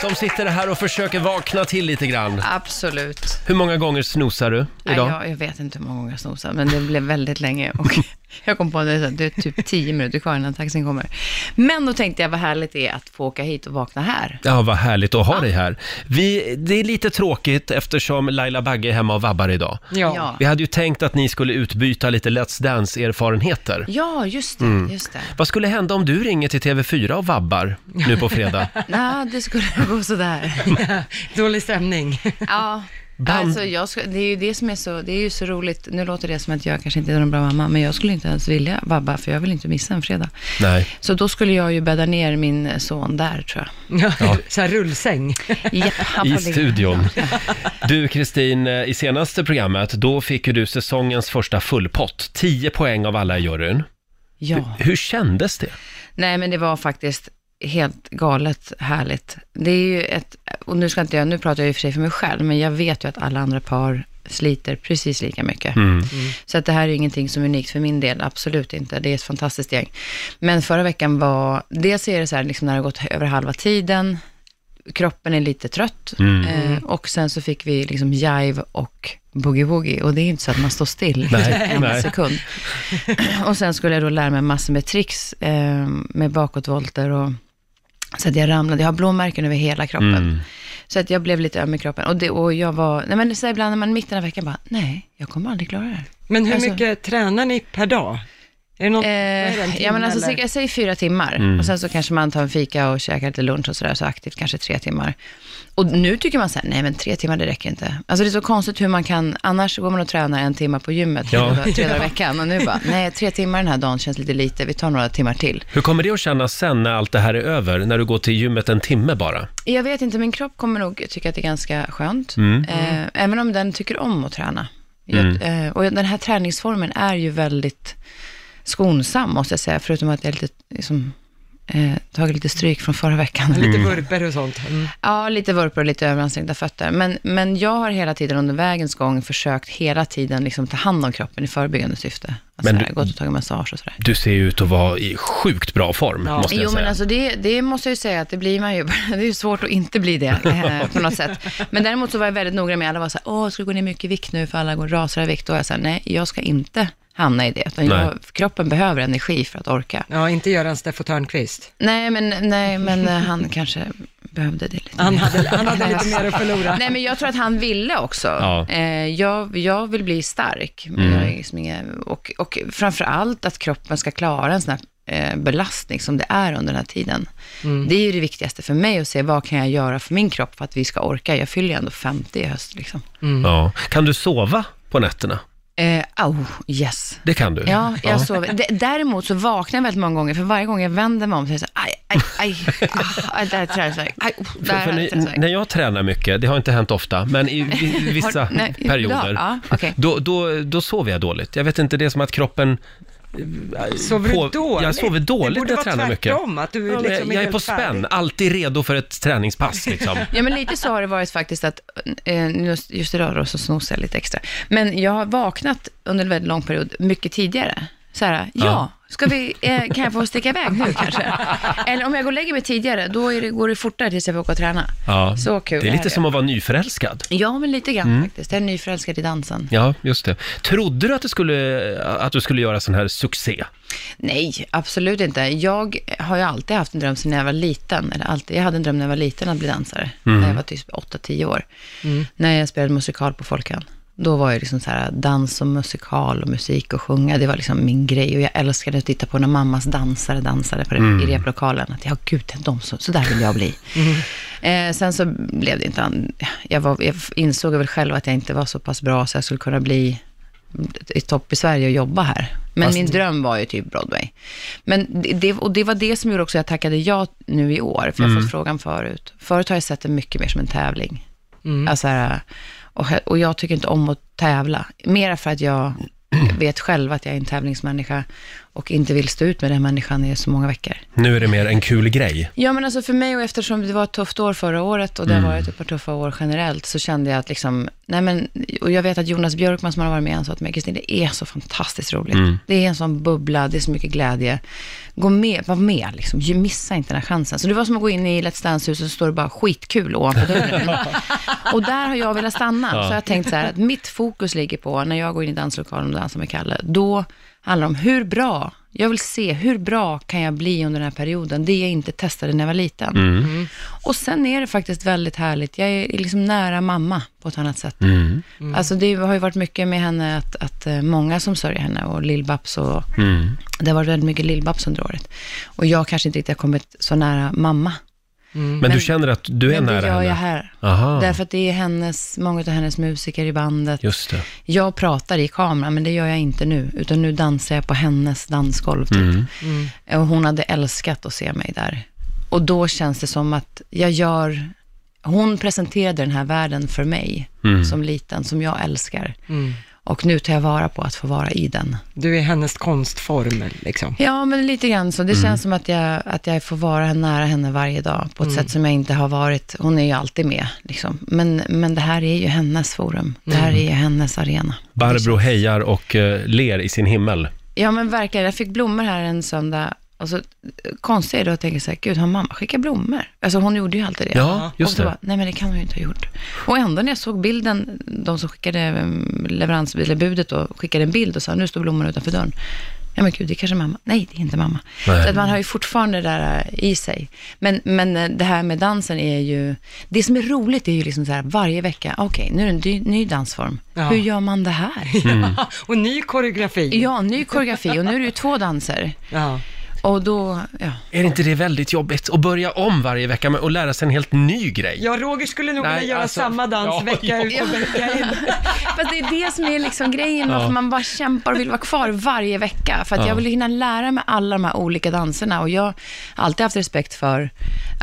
Speaker 1: Som sitter här och försöker vakna till lite grann.
Speaker 7: Absolut.
Speaker 1: Hur många gånger snosar du
Speaker 7: Nej,
Speaker 1: idag?
Speaker 7: jag, jag vet inte hur många gånger jag snosade, men det blev väldigt länge. Och jag kom på att det är så här, det är typ tio minuter kvar innan taxin kommer. Men då tänkte jag vad härligt det är att få åka hit och vakna här.
Speaker 1: Ja, vad härligt att ha dig här. Vi, det är lite tråkigt eftersom Laila Bagge är hemma och vabbar idag.
Speaker 3: Ja.
Speaker 7: Ja,
Speaker 1: Vi hade ju tänkt att ni skulle utbyta lite Let's Dance-erfarenheter.
Speaker 7: ja just det.
Speaker 1: Mm.
Speaker 7: Just det.
Speaker 1: Vad skulle hända om du ringer till TV4 och vabbar nu på fredag?
Speaker 7: Nej, det skulle gå sådär.
Speaker 3: Dålig stämning.
Speaker 7: Ja.
Speaker 1: Band-
Speaker 7: Alltså, jag ska, det är ju det som är så, det är ju så roligt. Nu låter det som att jag kanske inte är någon bra mamma, men jag skulle inte ens vilja vabba, för jag vill inte missa en fredag.
Speaker 1: Nej.
Speaker 7: Så då skulle jag ju bädda ner min son där, tror jag.
Speaker 3: Ja. Så här rullsäng.
Speaker 7: Japp, han
Speaker 1: I
Speaker 7: får ligga.
Speaker 1: studion. Du Kristin, eh, i senaste programmet, då fick ju du säsongens första fullpott. 10 poäng av alla i juryn.
Speaker 7: Ja.
Speaker 1: Hur kändes det?
Speaker 7: Nej, men det var faktiskt helt galet härligt. Det är ju ett, och nu ska inte jag, nu pratar jag ju för sig för mig själv, men jag vet ju att alla andra par sliter precis lika
Speaker 1: Mm.
Speaker 7: mycket. Så att det här är ju ingenting som är unikt för min del, absolut inte. Det är ett fantastiskt gäng. Men förra veckan var, dels är det så här, liksom när det har gått över halva tiden, kroppen är lite trött
Speaker 1: mm.
Speaker 7: eh, och sen så fick vi liksom jive och boogie-woogie och det är inte så att man står still
Speaker 1: Nej,
Speaker 7: en
Speaker 1: nej.
Speaker 7: sekund. Och sen skulle jag då lära mig massor med tricks eh, med bakåtvolter och så att jag ramlade, jag har blåmärken över hela kroppen.
Speaker 1: Mm.
Speaker 7: Så att jag blev lite öm i kroppen. Och, det, och jag var, nej men så här ibland när man är mitten av veckan bara, nej, jag kommer aldrig klara det här.
Speaker 3: Men hur
Speaker 7: Alltså-
Speaker 3: mycket tränar ni per dag? Är det någon, vad är det, en
Speaker 7: Eh, ja, men
Speaker 3: timme
Speaker 7: alltså,
Speaker 3: eller?
Speaker 7: cirka- jag säger fyra timmar. Och sen så kanske man tar en fika och käkar lite lunch och sådär, så aktivt kanske tre timmar. Och nu tycker man så här, nej men tre timmar det räcker inte. Alltså det är så konstigt hur man kan, annars går man och tränar en timme på gymmet
Speaker 1: Ja.
Speaker 7: tre dagar- tre dagar i veckan. Och nu bara, nej tre timmar den här dagen känns lite lite, vi tar några timmar till.
Speaker 1: Hur kommer det att kännas sen när allt det här är över? När du går till gymmet en timme bara?
Speaker 7: Jag vet inte, min kropp kommer nog tycka att det är ganska skönt.
Speaker 1: Mm.
Speaker 7: Eh, även om den tycker om att träna. Jag,
Speaker 1: Mm.
Speaker 7: eh, och den här träningsformen är ju väldigt skonsam, måste jag säga. Förutom att jag lite, liksom, eh, tagit lite stryk från förra veckan.
Speaker 1: Mm.
Speaker 3: Lite vurper och sånt. Mm.
Speaker 7: Ja, lite vurpor och lite överansträngda fötter. Men, men jag har hela tiden under vägens gång försökt hela tiden liksom ta hand om kroppen i förebyggande syfte. Alltså,
Speaker 1: Men
Speaker 7: sådär,
Speaker 1: du-
Speaker 7: gått och tagit massage och sådär.
Speaker 1: Du ser ju ut att vara i sjukt bra form,
Speaker 3: Ja.
Speaker 1: måste jag
Speaker 7: Jo,
Speaker 1: säga.
Speaker 7: men alltså det, det måste jag ju säga att det blir man ju. Det är ju svårt att inte bli det eh, på något sätt. Men däremot så var jag väldigt noga med, alla var så här, åh, ska du gå ner mycket i vikt nu för alla går rasar i vikt? Och jag sa, nej, jag ska inte hamna i det. Utan
Speaker 1: Nej.
Speaker 7: jag, kroppen behöver energi för att orka.
Speaker 3: Ja, inte Göran Steffo Törnqvist.
Speaker 7: Nej, men, nej, men eh, han kanske behövde det lite.
Speaker 3: Han
Speaker 7: mer.
Speaker 3: hade, han hade lite mer att förlora.
Speaker 7: Nej, men jag tror att han ville också.
Speaker 1: Ja. Mm.
Speaker 7: Eh, jag, jag vill bli stark. Men jag är liksom ingen, och, och framför allt att kroppen ska klara en sån här eh, belastning som det är under den här tiden. Det är ju det viktigaste för mig att se vad kan jag göra för min kropp för att vi ska orka. Jag fyller ju ändå 50 i höst. Liksom.
Speaker 1: Ja. Kan du sova på nätterna?
Speaker 7: Eh, oh, yes.
Speaker 1: Det kan du?
Speaker 7: Ja, jag sover. D- däremot så vaknar jag väldigt många gånger, för varje gång jag vänder mig om så är det så här, aj, aj, aj, ah, aj, där är träningsvärk, aj, oh, där
Speaker 1: För, för
Speaker 7: är
Speaker 1: ni,
Speaker 7: träningsvärk.
Speaker 1: när jag tränar mycket, det har inte hänt ofta, men i, i vissa
Speaker 7: Har- nej,
Speaker 1: perioder,
Speaker 7: ja, okej.
Speaker 1: då, då, då sover jag dåligt. Jag vet inte, det är som att kroppen...
Speaker 3: Sover
Speaker 1: på-
Speaker 3: du dåligt?
Speaker 1: Jag sover dåligt
Speaker 3: Det
Speaker 1: när
Speaker 3: borde
Speaker 1: jag
Speaker 3: vara
Speaker 1: tränar mycket.
Speaker 3: tvärtom, att du
Speaker 1: Ja, men
Speaker 3: liksom
Speaker 1: jag, jag är
Speaker 3: helt
Speaker 1: på
Speaker 3: färdig.
Speaker 1: spänn, alltid redo för ett träningspass liksom.
Speaker 7: Ja, men lite så har det varit faktiskt att, eh, just, just idag då så snosar jag lite extra. Men jag har vaknat under en väldigt lång period mycket tidigare. Så här, ja,
Speaker 1: Ja.
Speaker 7: Ska vi, eh, kan jag få sticka iväg nu kanske? Eller om jag går och lägger mig tidigare, då är det, går det fortare tills jag får åka och träna.
Speaker 1: Ja.
Speaker 7: Så kul
Speaker 1: Det är lite
Speaker 7: här
Speaker 1: som Mm. att vara nyförälskad.
Speaker 7: Ja, men lite grann faktiskt. Jag är nyförälskad i dansen.
Speaker 1: Ja, just det. Trodde du att du skulle, att du skulle göra sån här succé?
Speaker 7: Nej, absolut inte. Jag har ju alltid haft en dröm sedan jag var liten. Eller alltid, jag hade en dröm när jag var liten att bli dansare. När jag var typ 8-10 år. När jag spelade musikal på Folkan. Då var ju liksom så här, dans och musikal och musik och sjunga, det var liksom min grej. Och jag älskade att titta på när mammas dansare dansade på det, i replokalen. Att, ja gud, de så, så där vill jag bli. Eh, sen så blev det inte, an- jag, var, jag insåg väl själv att jag inte var så pass bra så jag skulle kunna bli i topp i Sverige och jobba här. Men min dröm var ju typ Broadway. Men det- det, och det var det som gjorde också att jag tackade ja nu i år, för jag har fått frågan förut. Förut har jag sett det mycket mer som en tävling. Alltså här, och, he- och jag tycker inte om att tävla. Mera för att jag vet själv att jag är en tävlingsmänniska och inte vill stå ut med den människan i så många veckor.
Speaker 1: Nu är det mer en kul grej.
Speaker 7: Ja, men alltså för mig och eftersom det var ett tufft år förra året och det har varit ett par tuffa år generellt så kände jag att liksom, nej men, och jag vet att Jonas Björkman som har varit med han sa till mig, Kristin, det är så fantastiskt roligt. Det är en sån bubbla, det är så mycket glädje. Gå med, var med liksom, Ju- missa inte den här chansen. Så det var som att gå in i Let's Dance-huset så står det bara skitkul ovanför dörren. och där har jag velat stanna. Så jag har tänkt så här att mitt fokus ligger på, när jag går in i danslokalen och dansar med Kalle, då handlar det om hur bra jag vill se hur bra kan jag bli under den här perioden, det jag inte testade när jag var liten.
Speaker 1: Mm.
Speaker 7: Och sen är det faktiskt väldigt härligt, jag är liksom nära mamma på ett annat sätt.
Speaker 1: Mm.
Speaker 7: Alltså det har ju varit mycket med henne, att, att eh, många som sörjer henne och Lill-Babs och
Speaker 1: Mm.
Speaker 7: det har varit väldigt mycket Lill-Babs under året. Och jag kanske inte riktigt har kommit så nära mamma.
Speaker 1: Mm. Men, du känner att du är
Speaker 7: Men det
Speaker 1: nära
Speaker 7: gör
Speaker 1: henne?
Speaker 7: jag här.
Speaker 1: Aha,
Speaker 7: Därför att det är hennes, många av hennes musiker i bandet.
Speaker 1: just det.
Speaker 7: Jag pratar i kameran, men det gör jag inte nu, utan nu dansar jag på hennes dansgolv. Typ. Och hon hade älskat att se mig där. Och då känns det som att jag gör... Hon presenterade den här världen för mig som liten, som jag älskar. Och nu tar jag vara på att få vara i den.
Speaker 3: Du är hennes konstform liksom.
Speaker 7: Ja, men lite grann så. Det känns som att jag, att jag får vara nära henne varje dag på ett sätt som jag inte har varit. Hon är ju alltid med, liksom. men, men det här är ju hennes forum. Det här är ju hennes arena.
Speaker 1: Barbro hejar och eh, ler i sin himmel.
Speaker 7: Ja men verkligen, jag fick blommor här en söndag. Och så, konstigt är det att tänka så här, gud har mamma skickat blommor? Alltså hon gjorde ju alltid det.
Speaker 1: Ja,
Speaker 7: och
Speaker 1: just
Speaker 7: så
Speaker 1: det.
Speaker 7: Bara, Nej men det kan hon ju inte ha gjort. Och ändå när jag såg bilden, eh, de som skickade mm, leveransbilen, budet då, skickade en bild och sa, nu står blommorna utanför dörren. ja men gud, det är kanske mamma. Nej, det är inte mamma.
Speaker 1: Nej.
Speaker 7: Så att man har ju fortfarande det där eh, i sig. Men, men eh, det här med dansen är ju, det som är roligt är ju liksom så här varje vecka, okej, nu är det en ny, ny dansform.
Speaker 3: Ja.
Speaker 7: Hur gör man det här?
Speaker 1: Mm.
Speaker 3: och ny koreografi.
Speaker 7: Ja, ny koreografi och nu är det ju två danser.
Speaker 3: Ja.
Speaker 7: Och då, ja.
Speaker 1: Är inte det väldigt jobbigt att börja om varje vecka med- och lära sig en helt ny grej?
Speaker 3: Ja, Roger skulle nog
Speaker 1: Nej,
Speaker 3: vilja göra
Speaker 1: alltså-
Speaker 3: samma dans
Speaker 1: Ja,
Speaker 3: vecka
Speaker 1: ja.
Speaker 3: ut och vecka in.
Speaker 7: Fast det är det som är liksom grejen, varför
Speaker 1: Ja.
Speaker 7: man bara kämpar och vill vara kvar varje vecka. För att
Speaker 1: Ja.
Speaker 7: jag vill hinna lära mig alla de här olika danserna och jag har alltid haft respekt för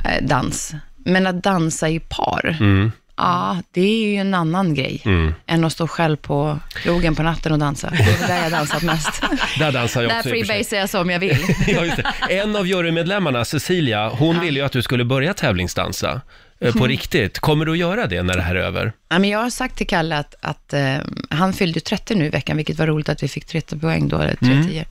Speaker 7: eh, dans. Men att dansa i par,
Speaker 1: Mm.
Speaker 7: ja, det är ju en annan grej än att stå själv på krogen på natten och dansa. Det är där jag dansat mest.
Speaker 1: Där dansar jag
Speaker 7: där
Speaker 1: också i och för sig.
Speaker 7: freebasear jag som jag vill.
Speaker 1: Ja, just det. En av jurymedlemmarna, Cecilia, hon ville ju att du skulle börja tävlingsdansa eh, på riktigt. Kommer du att göra det när det här är över?
Speaker 7: Ja, men jag har sagt till Kalle att, att eh, han fyllde ju 30 nu i veckan, vilket var roligt att vi fick 30 poäng då, eller
Speaker 3: Mm.
Speaker 7: 30 eh,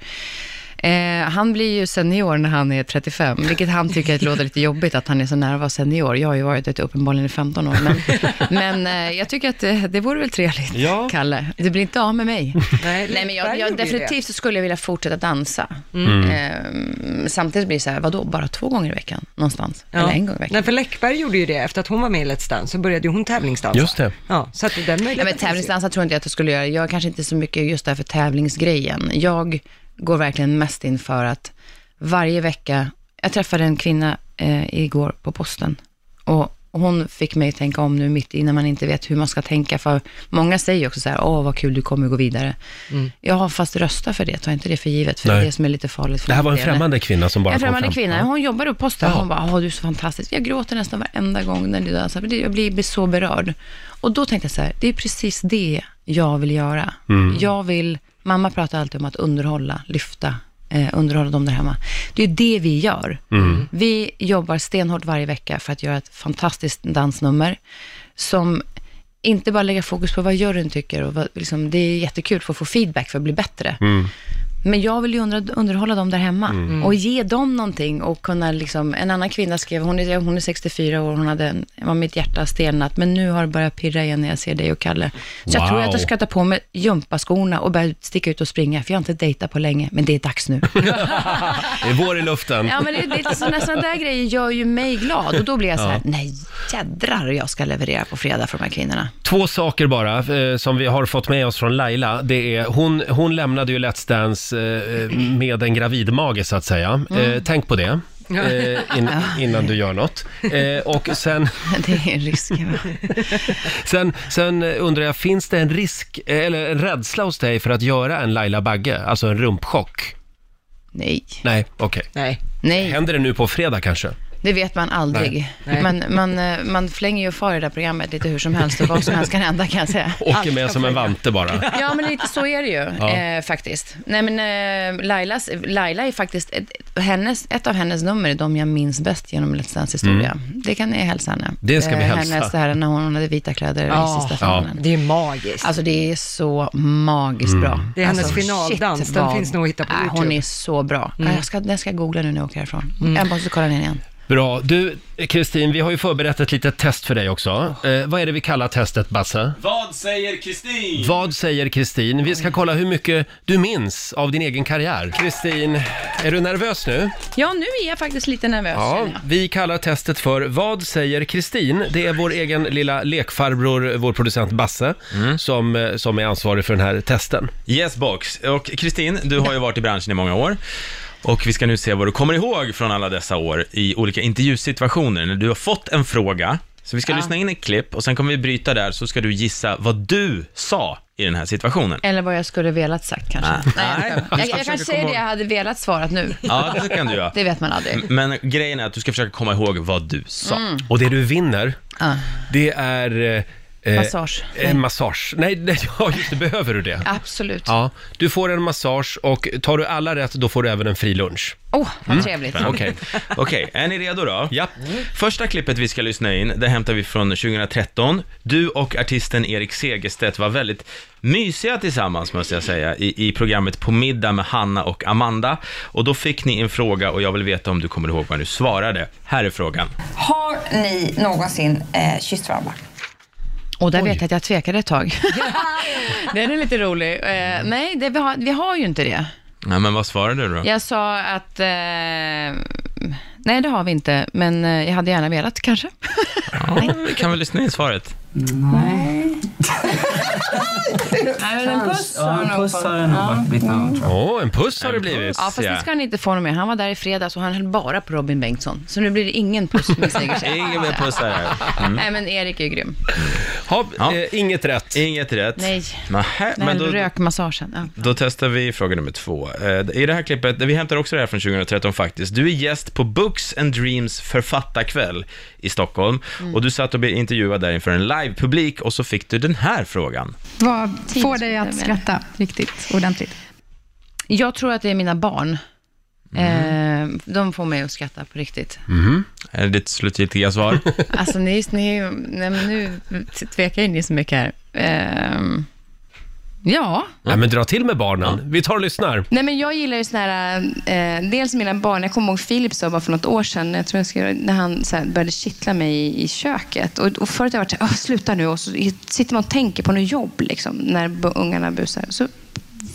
Speaker 7: Han blir ju senior när han är 35, vilket han tycker att låter lite jobbigt att han är så nära att vara senior. Jag har ju varit det uppenbarligen i 15 år, men, men eh, jag tycker att eh, det vore väl trevligt,
Speaker 1: Ja.
Speaker 7: Kalle. Du blir inte av med mig.
Speaker 3: Nej,
Speaker 7: Nej, men jag, jag,
Speaker 3: Lindberg gjorde ju det. Mm.
Speaker 7: definitivt så skulle jag vilja fortsätta dansa. Eh, samtidigt blir det så här, vadå, bara två gånger i veckan någonstans?
Speaker 3: Ja.
Speaker 7: Eller en gång i veckan?
Speaker 3: Nej, för Läckberg gjorde ju det. Efter att hon var med i Let's Dance så började ju hon tävlingsdansa.
Speaker 1: Just det.
Speaker 3: Ja, så att den möjligheten
Speaker 7: Ja, men
Speaker 3: finns ju.
Speaker 7: tävlingsdansa tror inte jag att jag skulle göra. Jag är kanske inte så mycket just därför tävlingsgrejen. Jag går verkligen mest in för att varje vecka, jag träffade en kvinna eh, igår på posten och hon fick mig att tänka om nu mitt i när man inte vet hur man ska tänka. För många säger ju också så här, åh vad kul du kommer gå vidare. Ja, fast rösta för det, ta inte det för givet, för det
Speaker 1: Mm. Nej.
Speaker 7: är det som är lite farligt. För
Speaker 1: Det här var en
Speaker 7: medbeteende.
Speaker 1: främmande kvinna som bara
Speaker 7: En
Speaker 1: kom
Speaker 7: främmande
Speaker 1: fram.
Speaker 7: kvinna, hon jobbar på posten.
Speaker 1: Ja.
Speaker 7: Hon bara, åh du är så fantastisk. Jag gråter nästan varenda gång när du dansar. Jag blir så berörd. Och då tänkte jag så här, det är precis det jag vill göra.
Speaker 1: Mm.
Speaker 7: Jag vill, mamma pratar alltid om att underhålla, lyfta, eh, underhålla dem där hemma. Det är det vi gör.
Speaker 1: Mm.
Speaker 7: Vi jobbar stenhårt varje vecka för att göra ett fantastiskt dansnummer som inte bara lägga fokus på vad juryn tycker och vad, liksom, det är jättekul för att få feedback för att bli bättre.
Speaker 1: Mm.
Speaker 7: Men jag vill ju under, underhålla dem där hemma och ge dem någonting och kunna liksom, en annan kvinna skrev, hon är, hon är 64 år, hon hade, en- var mitt hjärta stelnat, men nu har det börjat pirra igen när jag ser dig och Kalle. Så jag tror
Speaker 1: Wow.
Speaker 7: att jag ska ta på mig gympaskorna och börja sticka ut och springa, för jag har inte dejtat på länge, men det är dags nu.
Speaker 1: Det är vår i luften.
Speaker 7: ja, men det, det, är lite sådana, sådana där grejer gör ju mig glad och då blir jag så här, nej jädrar jag ska leverera på fredag för de här kvinnorna.
Speaker 1: Två saker bara eh, som vi har fått med oss från Laila. Det är, hon, hon lämnade ju Let's Dance eh, med en gravid mage så att säga. Eh, tänk på det. Eh, in, innan du gör något. Eh, och sen,
Speaker 7: Det är en risk. va?
Speaker 1: sen, sen undrar jag, finns det en risk, eh, eller en rädsla hos dig för att göra en Laila Bagge, alltså en rumpchock?
Speaker 7: Nej,
Speaker 1: Nej, okej.
Speaker 3: Nej.
Speaker 7: nej.
Speaker 1: Händer det nu på fredag kanske?
Speaker 7: Det vet man aldrig.
Speaker 3: Nej.
Speaker 7: Man, man, eh, man flänger ju och far i det här programmet lite hur som helst och vad som helst kan hända kan jag säga.
Speaker 1: Åker med som en vante bara.
Speaker 7: Ja, men lite så är det ju eh, faktiskt. Nej, men eh, Lailas, Laila är faktiskt, ett, hennes, ett av hennes nummer är de jag minns bäst genom Let's Dance historia. Det kan ni hälsa henne.
Speaker 1: Mm.
Speaker 7: Eh,
Speaker 1: Det ska vi hälsa.
Speaker 7: Hennes, det här när hon hade vita kläder
Speaker 3: Ja.
Speaker 7: i sista finalen.
Speaker 3: Det är magiskt.
Speaker 7: Alltså det är så
Speaker 1: Mm.
Speaker 7: magiskt bra.
Speaker 3: Det är hennes
Speaker 7: alltså,
Speaker 3: finaldans.
Speaker 7: shit,
Speaker 3: Den
Speaker 7: vad-
Speaker 3: finns nog att hitta på
Speaker 7: Äh, Hon
Speaker 3: YouTube.
Speaker 7: är så bra. Ja, Jag ska, den ska jag googla nu när jag åker härifrån. Jag måste kolla den igen.
Speaker 1: Bra. Du, Kristin, vi har ju förberett ett litet test för dig också. Eh, vad är det vi kallar testet, Basse?
Speaker 6: Vad säger Kristin?
Speaker 1: Vad säger Kristin? Vi ska kolla hur mycket du minns av din egen karriär. Kristin, är du nervös nu?
Speaker 7: Ja, nu är jag faktiskt lite nervös.
Speaker 1: Ja,
Speaker 7: känner jag.
Speaker 1: vi kallar testet för Vad säger Kristin? Det är vår egen lilla lekfarbror, vår producent Basse, som, eh, som är ansvarig för den här testen.
Speaker 6: Yes box. Och Kristin, du har ju varit i branschen i många år. Och vi ska nu se vad du kommer ihåg från alla dessa år i olika intervjusituationer när du har fått en fråga. Så vi ska lyssna in ett klipp och sen kommer vi bryta där så ska du gissa vad du sa i den här situationen.
Speaker 7: Eller vad jag skulle velat sagt kanske.
Speaker 6: Nej.
Speaker 7: jag skojar. jag, jag kanske säger det jag hade velat svarat nu.
Speaker 6: Ja, det kan du göra.
Speaker 7: Det vet man aldrig.
Speaker 6: Men grejen är att du ska försöka komma ihåg vad du sa.
Speaker 7: Mm.
Speaker 1: Och det du vinner,
Speaker 7: Ah.
Speaker 1: det är... eh,
Speaker 7: Massage.
Speaker 1: Eh, en massage. Nej, nej, ja just det, behöver du det?
Speaker 7: Absolut. Åh,
Speaker 1: Ja, du får en massage och tar du alla rätt då får du även en fri lunch.
Speaker 7: oh, vad
Speaker 6: Mm.
Speaker 7: trevligt.
Speaker 1: Okej.
Speaker 6: Okej, är ni redo då?
Speaker 1: Ja.
Speaker 6: Första klippet vi ska lyssna in, det hämtar vi från 2013. Du och artisten Erik Segerstedt var väldigt mysiga tillsammans, måste jag säga, i, i programmet På middag med Hanna och Amanda. Och då fick ni en fråga och jag vill veta om du kommer ihåg vad du svarade. Här är frågan.
Speaker 8: Har ni någonsin eh, kysst varandra?
Speaker 7: Och där vet jag att jag
Speaker 6: Mm.
Speaker 7: tvekade ett tag. Den är lite rolig. Eh, nej, det, vi, har, vi har ju inte det.
Speaker 6: Ja, men vad svarade du då?
Speaker 7: Jag sa att, eh, nej det har vi inte, men eh, jag hade gärna velat kanske.
Speaker 6: Ja, vi kan väl lyssna in svaret.
Speaker 7: Nej, men en puss
Speaker 9: Ja, en puss har det nog varit blivit någon, tror jag.
Speaker 1: Åh, en puss har det blivit.
Speaker 7: Ja, fast det ska han inte få någon mer. Han var där i fredags och han höll bara på Robin Bengtsson. Så nu blir det ingen puss med Segerstedt.
Speaker 6: Ingen mer pussar här. Mm.
Speaker 7: Nej, men Erik är ju grym.
Speaker 1: Ha,
Speaker 6: Ja.
Speaker 1: eh, inget rätt.
Speaker 6: Inget rätt.
Speaker 7: Nej.
Speaker 6: Nähä,
Speaker 7: Den
Speaker 6: men då,
Speaker 7: rökmassagen. Ja.
Speaker 6: Då testar vi fråga nummer två. Eh, I det här klippet, vi hämtar också det här från 2013 faktiskt. Du är gäst på Books and Dreams författarkväll i Stockholm.
Speaker 7: Mm.
Speaker 6: Och du satt och blev intervjuad där inför en livepublik och så fick du den här frågan.
Speaker 10: Vad får dig
Speaker 7: jag
Speaker 10: att
Speaker 7: menar.
Speaker 10: skratta riktigt ordentligt?
Speaker 7: Jag tror att det är mina barn. Eh, de får mig att skratta på riktigt.
Speaker 6: Är det ditt slutgiltiga svar?
Speaker 7: Alltså ni, ni nej, men nu tvekar ju ni så mycket här. Ehm, ja,
Speaker 1: Ja, men dra till med barnen. Vi tar och lyssnar.
Speaker 9: Nej men jag gillar ju såna här, eh, dels mina barn, jag kommer ihåg Filip sa bara för något år sedan, jag tror jag skrev, när han så här, började kittla mig i, i köket. Och, och förut har jag varit såhär, "Åh, sluta nu, och så sitter man och tänker på något jobb liksom, när bu- ungarna busar. Så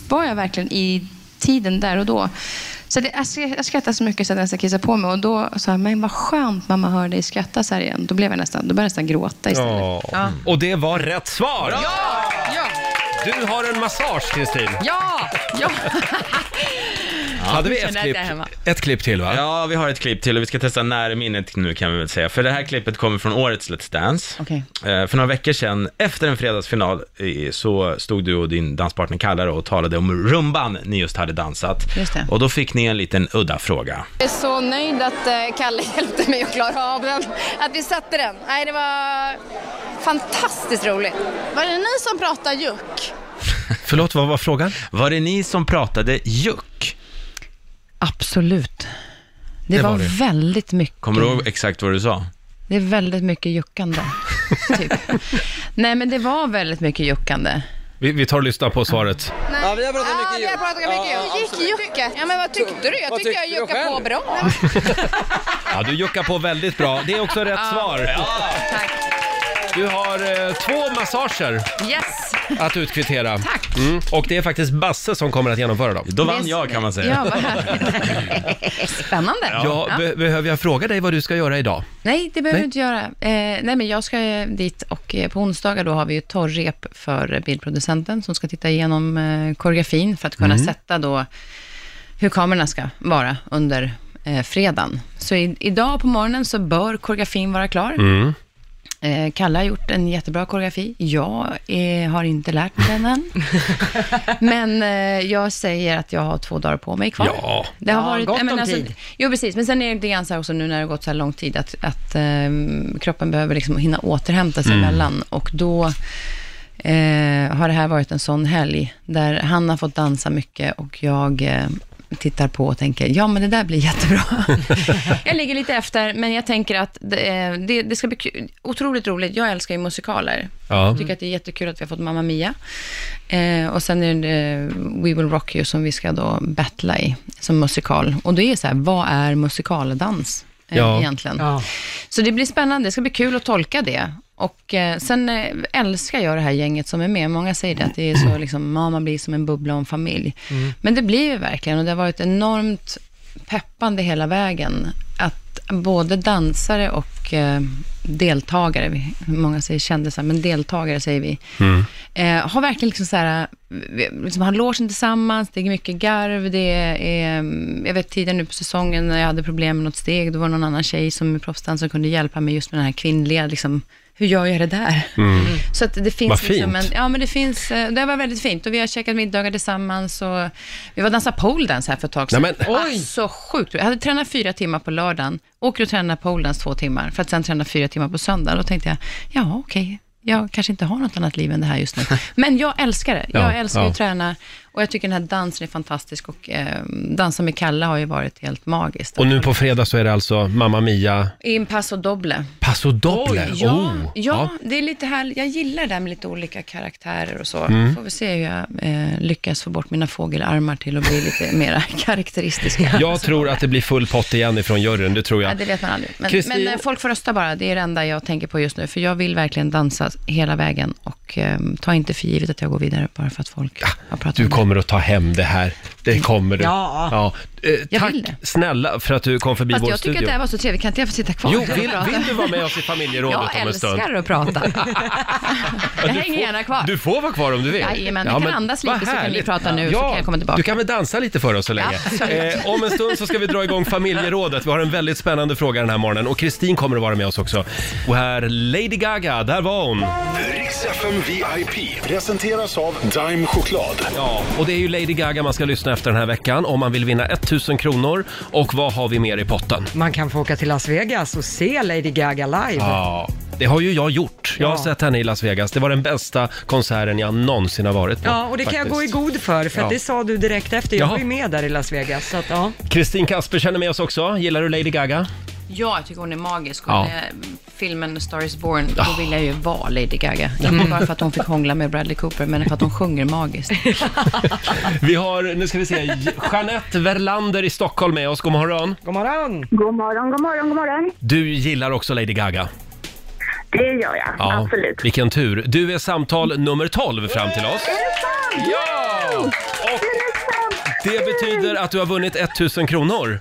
Speaker 9: var jag verkligen i tiden där och då. Så det, jag skra- jag skrattade så mycket så att jag nästan kissade på mig och då sa jag, men vad skönt mamma hör dig skratta så här igen. Då blev jag nästan, då började jag nästan gråta istället.
Speaker 1: Ja. Och det var rätt svar! Du har en massage, Kristin.
Speaker 7: ja, ja.
Speaker 1: Hade vi
Speaker 7: jag
Speaker 1: ett
Speaker 7: känner att
Speaker 1: klipp,
Speaker 7: jag är hemma.
Speaker 1: ett klipp till, va?
Speaker 6: Ja, vi har ett klipp till och vi ska testa närminnet nu kan vi väl säga. För det här klippet kommer från årets Let's Dance.
Speaker 7: Okej.
Speaker 6: Eh, För några veckor sedan, efter en fredagsfinal, eh, så stod du och din danspartner Kalle då och talade om rumban ni just hade dansat.
Speaker 7: Just det.
Speaker 6: Och då fick ni en liten udda fråga.
Speaker 9: Jag är så nöjd att eh, Kalle hjälpte mig att klara av den. Att vi satte den. Nej, det var fantastiskt roligt. Var det ni som pratade juck?
Speaker 1: Förlåt, vad var frågan?
Speaker 6: Var det ni som pratade juck?
Speaker 7: Absolut. Det,
Speaker 1: Det
Speaker 7: var,
Speaker 1: var det.
Speaker 7: väldigt mycket.
Speaker 6: Kommer du
Speaker 1: Mm.
Speaker 6: ihåg exakt vad du sa?
Speaker 7: Det är väldigt mycket juckande. typ. Nej, men det var väldigt mycket juckande.
Speaker 1: Vi, vi tar och lyssnar på svaret.
Speaker 9: Ja, vi har pratat
Speaker 7: Ah,
Speaker 9: mycket juck. Ja, vi har pratat mycket juck. Hur gick jucket? Ja, men vad tyckte du? Jag tyckte jag juckade på bra.
Speaker 1: Ja, du juckar på väldigt bra. Det är också rätt svar.
Speaker 7: Tack.
Speaker 1: Du har eh, två massager
Speaker 7: Yes.
Speaker 1: att utkvittera. Tack. Mm. Och det är faktiskt Basse som kommer att genomföra dem.
Speaker 6: Då vann jag kan man säga.
Speaker 7: Ja, vad härligt. Spännande.
Speaker 1: Ja,
Speaker 7: Ja.
Speaker 1: Be- behöver jag fråga dig vad du ska göra idag?
Speaker 7: Nej, det behöver
Speaker 1: Nej.
Speaker 7: du inte göra. Eh, nej, men jag ska eh, dit och eh, på onsdagar då har vi ju ett torrrep för eh, bildproducenten som ska titta igenom eh, koreografin för att kunna
Speaker 1: Mm.
Speaker 7: sätta då hur kamerorna ska vara under eh, fredagen. Så i, idag på morgonen så bör koreografin vara klar.
Speaker 1: Mm.
Speaker 7: Eh, Kalle har gjort en jättebra koreografi. Jag eh, har inte lärt mig den än. men eh, jag säger att jag har två dagar på mig kvar.
Speaker 1: Ja.
Speaker 7: Det har
Speaker 3: Ja,
Speaker 7: varit,
Speaker 3: gott
Speaker 7: nej, men
Speaker 3: om
Speaker 7: alltså,
Speaker 3: tid.
Speaker 7: Jo, precis. Men sen är det lite grann så här också nu när det har gått så här lång tid att, att ehm, kroppen behöver liksom hinna återhämta
Speaker 3: Mm.
Speaker 7: sig emellan. Och då eh, har det här varit en sån helg där han har fått dansa mycket och jag eh, tittar på och tänker, ja men det där blir jättebra. jag ligger lite efter, men jag tänker att det, eh, det, det ska bli kul. otroligt roligt. Jag älskar ju musikaler.
Speaker 1: Ja.
Speaker 7: Jag tycker att det är jättekul att vi har fått Mamma Mia. Eh, och sen är det eh, We Will Rock You som vi ska då battla i som musikal. Och det är så här, vad är musikaldans eh,
Speaker 1: Ja.
Speaker 7: egentligen? Så det blir spännande, det ska bli kul att tolka det. Och eh, sen eh, älskar jag det här gänget som är med. Många säger det, att det är så liksom, ja, man blir som en bubbla om familj. Men det blir ju verkligen, och det har varit enormt peppande hela vägen. Att både dansare och eh, deltagare, vi- många säger kändisar, men deltagare säger vi,
Speaker 1: Mm.
Speaker 7: eh, har verkligen liksom så här, vi- liksom har logen tillsammans, det är mycket garv, det är, eh, jag vet tidigare nu på säsongen när jag hade problem med något steg, då var det någon annan tjej som är proffsdansare som kunde hjälpa mig just med den här kvinnliga, liksom, hur gör jag det där? Så att det finns
Speaker 1: Mm. Vad
Speaker 7: liksom
Speaker 1: fint.
Speaker 7: en, ja men det finns, eh, det var väldigt fint och vi har käkat middagar tillsammans och vi var och dansade pole dance här för ett tag sedan.
Speaker 1: Nej, men-
Speaker 7: Alltså sjukt. Jag hade tränat fyra timmar på lördagen, åker och tränar pole dance två timmar, för att sen träna fyra timmar på söndag. Då tänkte jag, ja okej, jag kanske inte har något annat liv än det här just nu. Men jag älskar det. Jag
Speaker 1: Ja,
Speaker 7: älskar
Speaker 1: ja.
Speaker 7: att träna och jag tycker den här dansen är fantastisk och eh, dansa med Kalle har ju varit helt magiskt.
Speaker 1: Och nu på fredag så är det alltså Mamma Mia
Speaker 7: In passo doble.
Speaker 1: Paso Doble.
Speaker 7: Ja,
Speaker 1: Oh.
Speaker 7: ja,
Speaker 1: Ja.
Speaker 7: det är lite här, jag gillar det här med lite olika karaktärer och så.
Speaker 1: Mm.
Speaker 7: Får vi se hur jag eh, lyckas få bort mina fågelarmar till att bli lite mera karaktäristiska.
Speaker 1: Jag tror att det blir full pott igen ifrån juryn, det tror
Speaker 7: Ja,
Speaker 1: jag.
Speaker 7: det vet man aldrig. Men,
Speaker 1: Kristin-
Speaker 7: men eh, folk får rösta bara, det är det enda jag tänker på just nu. För jag vill verkligen dansa hela vägen ehm, och eh, ta inte för givet att jag går vidare bara för att folk har pratat
Speaker 1: Du
Speaker 7: om det.
Speaker 1: kommer att ta hem det här. Det kommer du.
Speaker 7: Ja.
Speaker 1: Eh,
Speaker 7: Jag
Speaker 1: tack
Speaker 7: vill det.
Speaker 1: snälla för att du kom förbi
Speaker 7: Fast
Speaker 1: vår
Speaker 7: jag tycker
Speaker 1: studio.
Speaker 7: att det här var så trevligt. Kan inte jag få sitta kvar?
Speaker 1: Jo,
Speaker 7: här och
Speaker 1: vill,
Speaker 7: prata?
Speaker 1: vill du vara med oss i familjerådet
Speaker 7: Jag
Speaker 1: om en stund?
Speaker 7: älskar att prata. Jag hänger gärna kvar.
Speaker 1: Du får vara kvar om du vill.
Speaker 7: Jajamän, ni kan andas lite
Speaker 1: vad
Speaker 7: så kan ni
Speaker 1: härligt.
Speaker 7: prata nu, så kan jag komma tillbaka.
Speaker 1: Du kan väl dansa lite för oss så länge.
Speaker 7: Absolut.
Speaker 1: Eh, om en stund så ska vi dra igång familjerådet. Vi har en väldigt spännande fråga den här morgonen och Kristin kommer att vara med oss också. Och här Lady Gaga, där var hon.
Speaker 11: Riks FM VIP presenteras av Dime Choklad.
Speaker 1: Ja, och det är ju Lady Gaga man ska lyssna efter den här veckan om man vill vinna 1000 kronor. Och vad har vi mer i potten?
Speaker 3: Man kan få åka till Las Vegas och se Lady Gaga live.
Speaker 1: Ja, det har ju jag gjort. Jag har
Speaker 3: Ja.
Speaker 1: sett henne i Las Vegas. Det var den bästa konserten jag någonsin har varit på.
Speaker 3: Ja, och det kan jag
Speaker 1: faktiskt.
Speaker 3: gå i god för, för
Speaker 1: Ja.
Speaker 3: att det sa du direkt efter. Jag
Speaker 1: Jaha.
Speaker 3: var ju med där i Las Vegas, så att ja.
Speaker 1: Kristin Kasper känner med oss också. Gillar du Lady Gaga?
Speaker 7: Ja, jag tycker hon är magisk.
Speaker 1: Ja. Ah.
Speaker 7: Ja. Filmen Star is born, då vill jag ju vara Lady Gaga. Inte
Speaker 1: Mm.
Speaker 7: bara för att hon fick hångla med Bradley Cooper, men för att hon sjunger magiskt.
Speaker 1: Vi har, nu ska vi se, Jeanette Verlander i Stockholm med oss. God morgon.
Speaker 3: God morgon!
Speaker 12: God morgon, god morgon, god morgon.
Speaker 1: Du gillar också Lady Gaga?
Speaker 12: Det gör jag, absolut.
Speaker 1: Vilken tur. Du är samtal nummer 12 fram till oss. Ja! Och det betyder att du har vunnit 1000 kronor.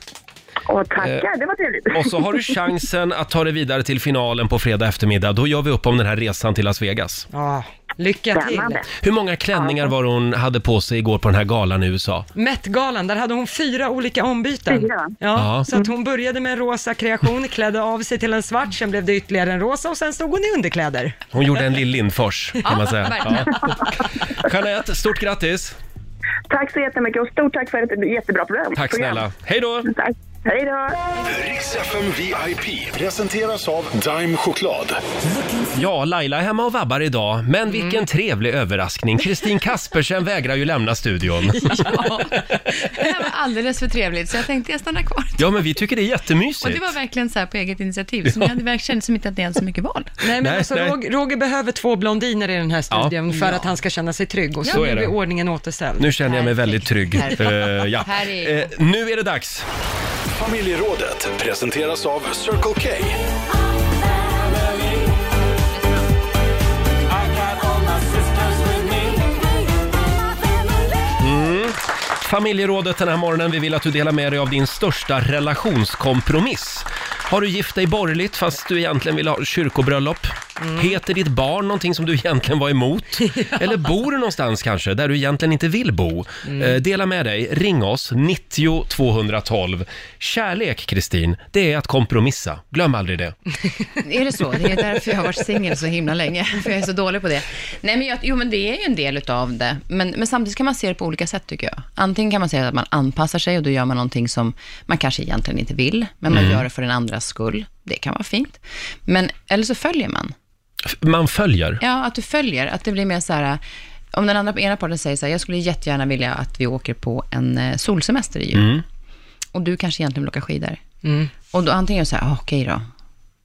Speaker 12: Åh, tackar, det var trevligt.
Speaker 1: Eh, Och så har du chansen att ta dig vidare till finalen på fredag eftermiddag. Då gör vi upp om den här resan till Las Vegas.
Speaker 3: Ja, lycka till!
Speaker 12: Spännande.
Speaker 1: Hur många klänningar var det hon hade på sig igår på den här galan i USA?
Speaker 3: Met-galan, där hade hon fyra olika ombyten.
Speaker 12: Fyra?
Speaker 3: Ja,
Speaker 1: Ja.
Speaker 3: så att hon började med en rosa kreation, klädde av sig till en svart, sen blev det ytterligare en rosa och sen stod hon i underkläder.
Speaker 1: Hon gjorde en Lill Lindfors, kan man säga.
Speaker 3: verkligen.
Speaker 1: Jeanette, stort grattis!
Speaker 12: Tack så jättemycket och stort tack för ett jättebra program.
Speaker 1: Tack snälla. Hej då!
Speaker 12: Tack. Hej då!
Speaker 11: Riks FM VIP presenteras av Dime Choklad.
Speaker 1: Ja, Laila är hemma och vabbar idag, men vilken trevlig överraskning. Kristin Kaspersen vägrar ju lämna studion.
Speaker 7: Det här var alldeles för trevligt, så jag tänkte jag stannar kvar.
Speaker 1: Ja, men vi tycker det är
Speaker 7: Och
Speaker 1: jättemysigt.
Speaker 7: det var verkligen så här på eget initiativ, så ni hade verkligen kändes som inte att ni hade så mycket val.
Speaker 3: Nej, men
Speaker 1: Nej,
Speaker 3: alltså,
Speaker 1: nej.
Speaker 3: Roger, Roger behöver två blondiner i den här studien för
Speaker 1: Ja.
Speaker 3: att han ska känna sig trygg och
Speaker 1: Ja.
Speaker 3: så,
Speaker 1: Så är
Speaker 3: nu
Speaker 1: det.
Speaker 3: är ordningen återställd.
Speaker 1: Nu känner jag mig väldigt trygg.
Speaker 3: Perfekt.
Speaker 1: Eh, ja.
Speaker 3: Här är-
Speaker 1: Eh, nu är det dags.
Speaker 11: Familjerådet presenteras av Circle K.
Speaker 1: Mm. Familjerådet den här morgonen, vi vill att du delar med dig av din största relationskompromiss. Har du gift dig borgerligt fast du egentligen vill ha kyrkobröllop? Heter ditt barn någonting som du egentligen var emot? Eller bor du någonstans kanske, där du egentligen inte vill bo? Eh, dela med dig, ring oss, 90 212. Kärlek, Kristin, det är att kompromissa. Glöm aldrig det.
Speaker 7: Är det så? Det är därför jag har varit singel så himla länge, för jag är så dålig på det. Nej, men jag, jo, men det är ju en del utav det, men, men samtidigt kan man se det på olika sätt, tycker jag. Antingen kan man säga att man anpassar sig och då gör man någonting som man kanske egentligen inte vill, men man
Speaker 1: Mm.
Speaker 7: gör det för den andras skull. Det kan vara fint. Men, eller så följer man.
Speaker 1: F- Man följer.
Speaker 7: Ja, att du följer, att det blir mer så här, om den andra, ena parten säger så här, jag skulle jättegärna vilja att vi åker på en eh, solsemester i jul,
Speaker 1: Mm.
Speaker 7: och du kanske egentligen vill åka skidor.
Speaker 3: Mm.
Speaker 7: Och då antingen så här, ah, okej då,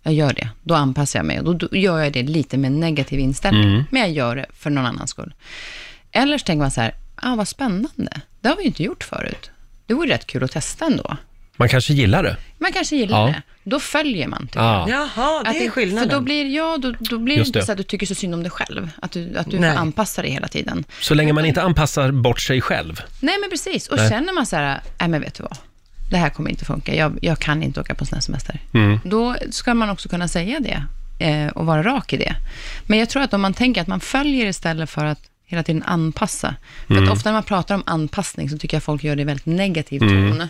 Speaker 7: jag gör det, då anpassar jag mig. Och då, då gör jag det lite med en negativ inställning,
Speaker 13: Mm.
Speaker 7: men jag gör det för någon annans skull. Eller så tänker man så här, ah, vad spännande, det har vi ju inte gjort förut. Det vore rätt kul att testa ändå.
Speaker 1: Man kanske gillar det. Ah.
Speaker 7: Man kanske gillar
Speaker 1: Ja.
Speaker 7: det. Då följer man. tycker
Speaker 1: Ja.
Speaker 7: jag.
Speaker 3: Jaha, det
Speaker 7: Att
Speaker 3: är skillnaden.
Speaker 7: För då blir, ja, då, då blir det
Speaker 1: Just
Speaker 7: inte
Speaker 1: det.
Speaker 7: så att du tycker så synd om dig själv. Att du, att du
Speaker 1: Nej.
Speaker 7: får anpassa dig hela tiden.
Speaker 1: Så länge man inte anpassar bort sig själv.
Speaker 7: Nej, men precis. Och
Speaker 1: Nej.
Speaker 7: känner man så här, nej men vet du vad, det här kommer inte funka. Jag, jag kan inte åka på sån här semester.
Speaker 1: Mm.
Speaker 7: Då ska man också kunna säga det eh, och vara rak i det. Men jag tror att om man tänker att man följer istället för att hela tiden anpassa. För
Speaker 13: Mm.
Speaker 7: att ofta när man pratar om anpassning så tycker jag folk gör det i väldigt negativ
Speaker 13: Mm.
Speaker 7: ton.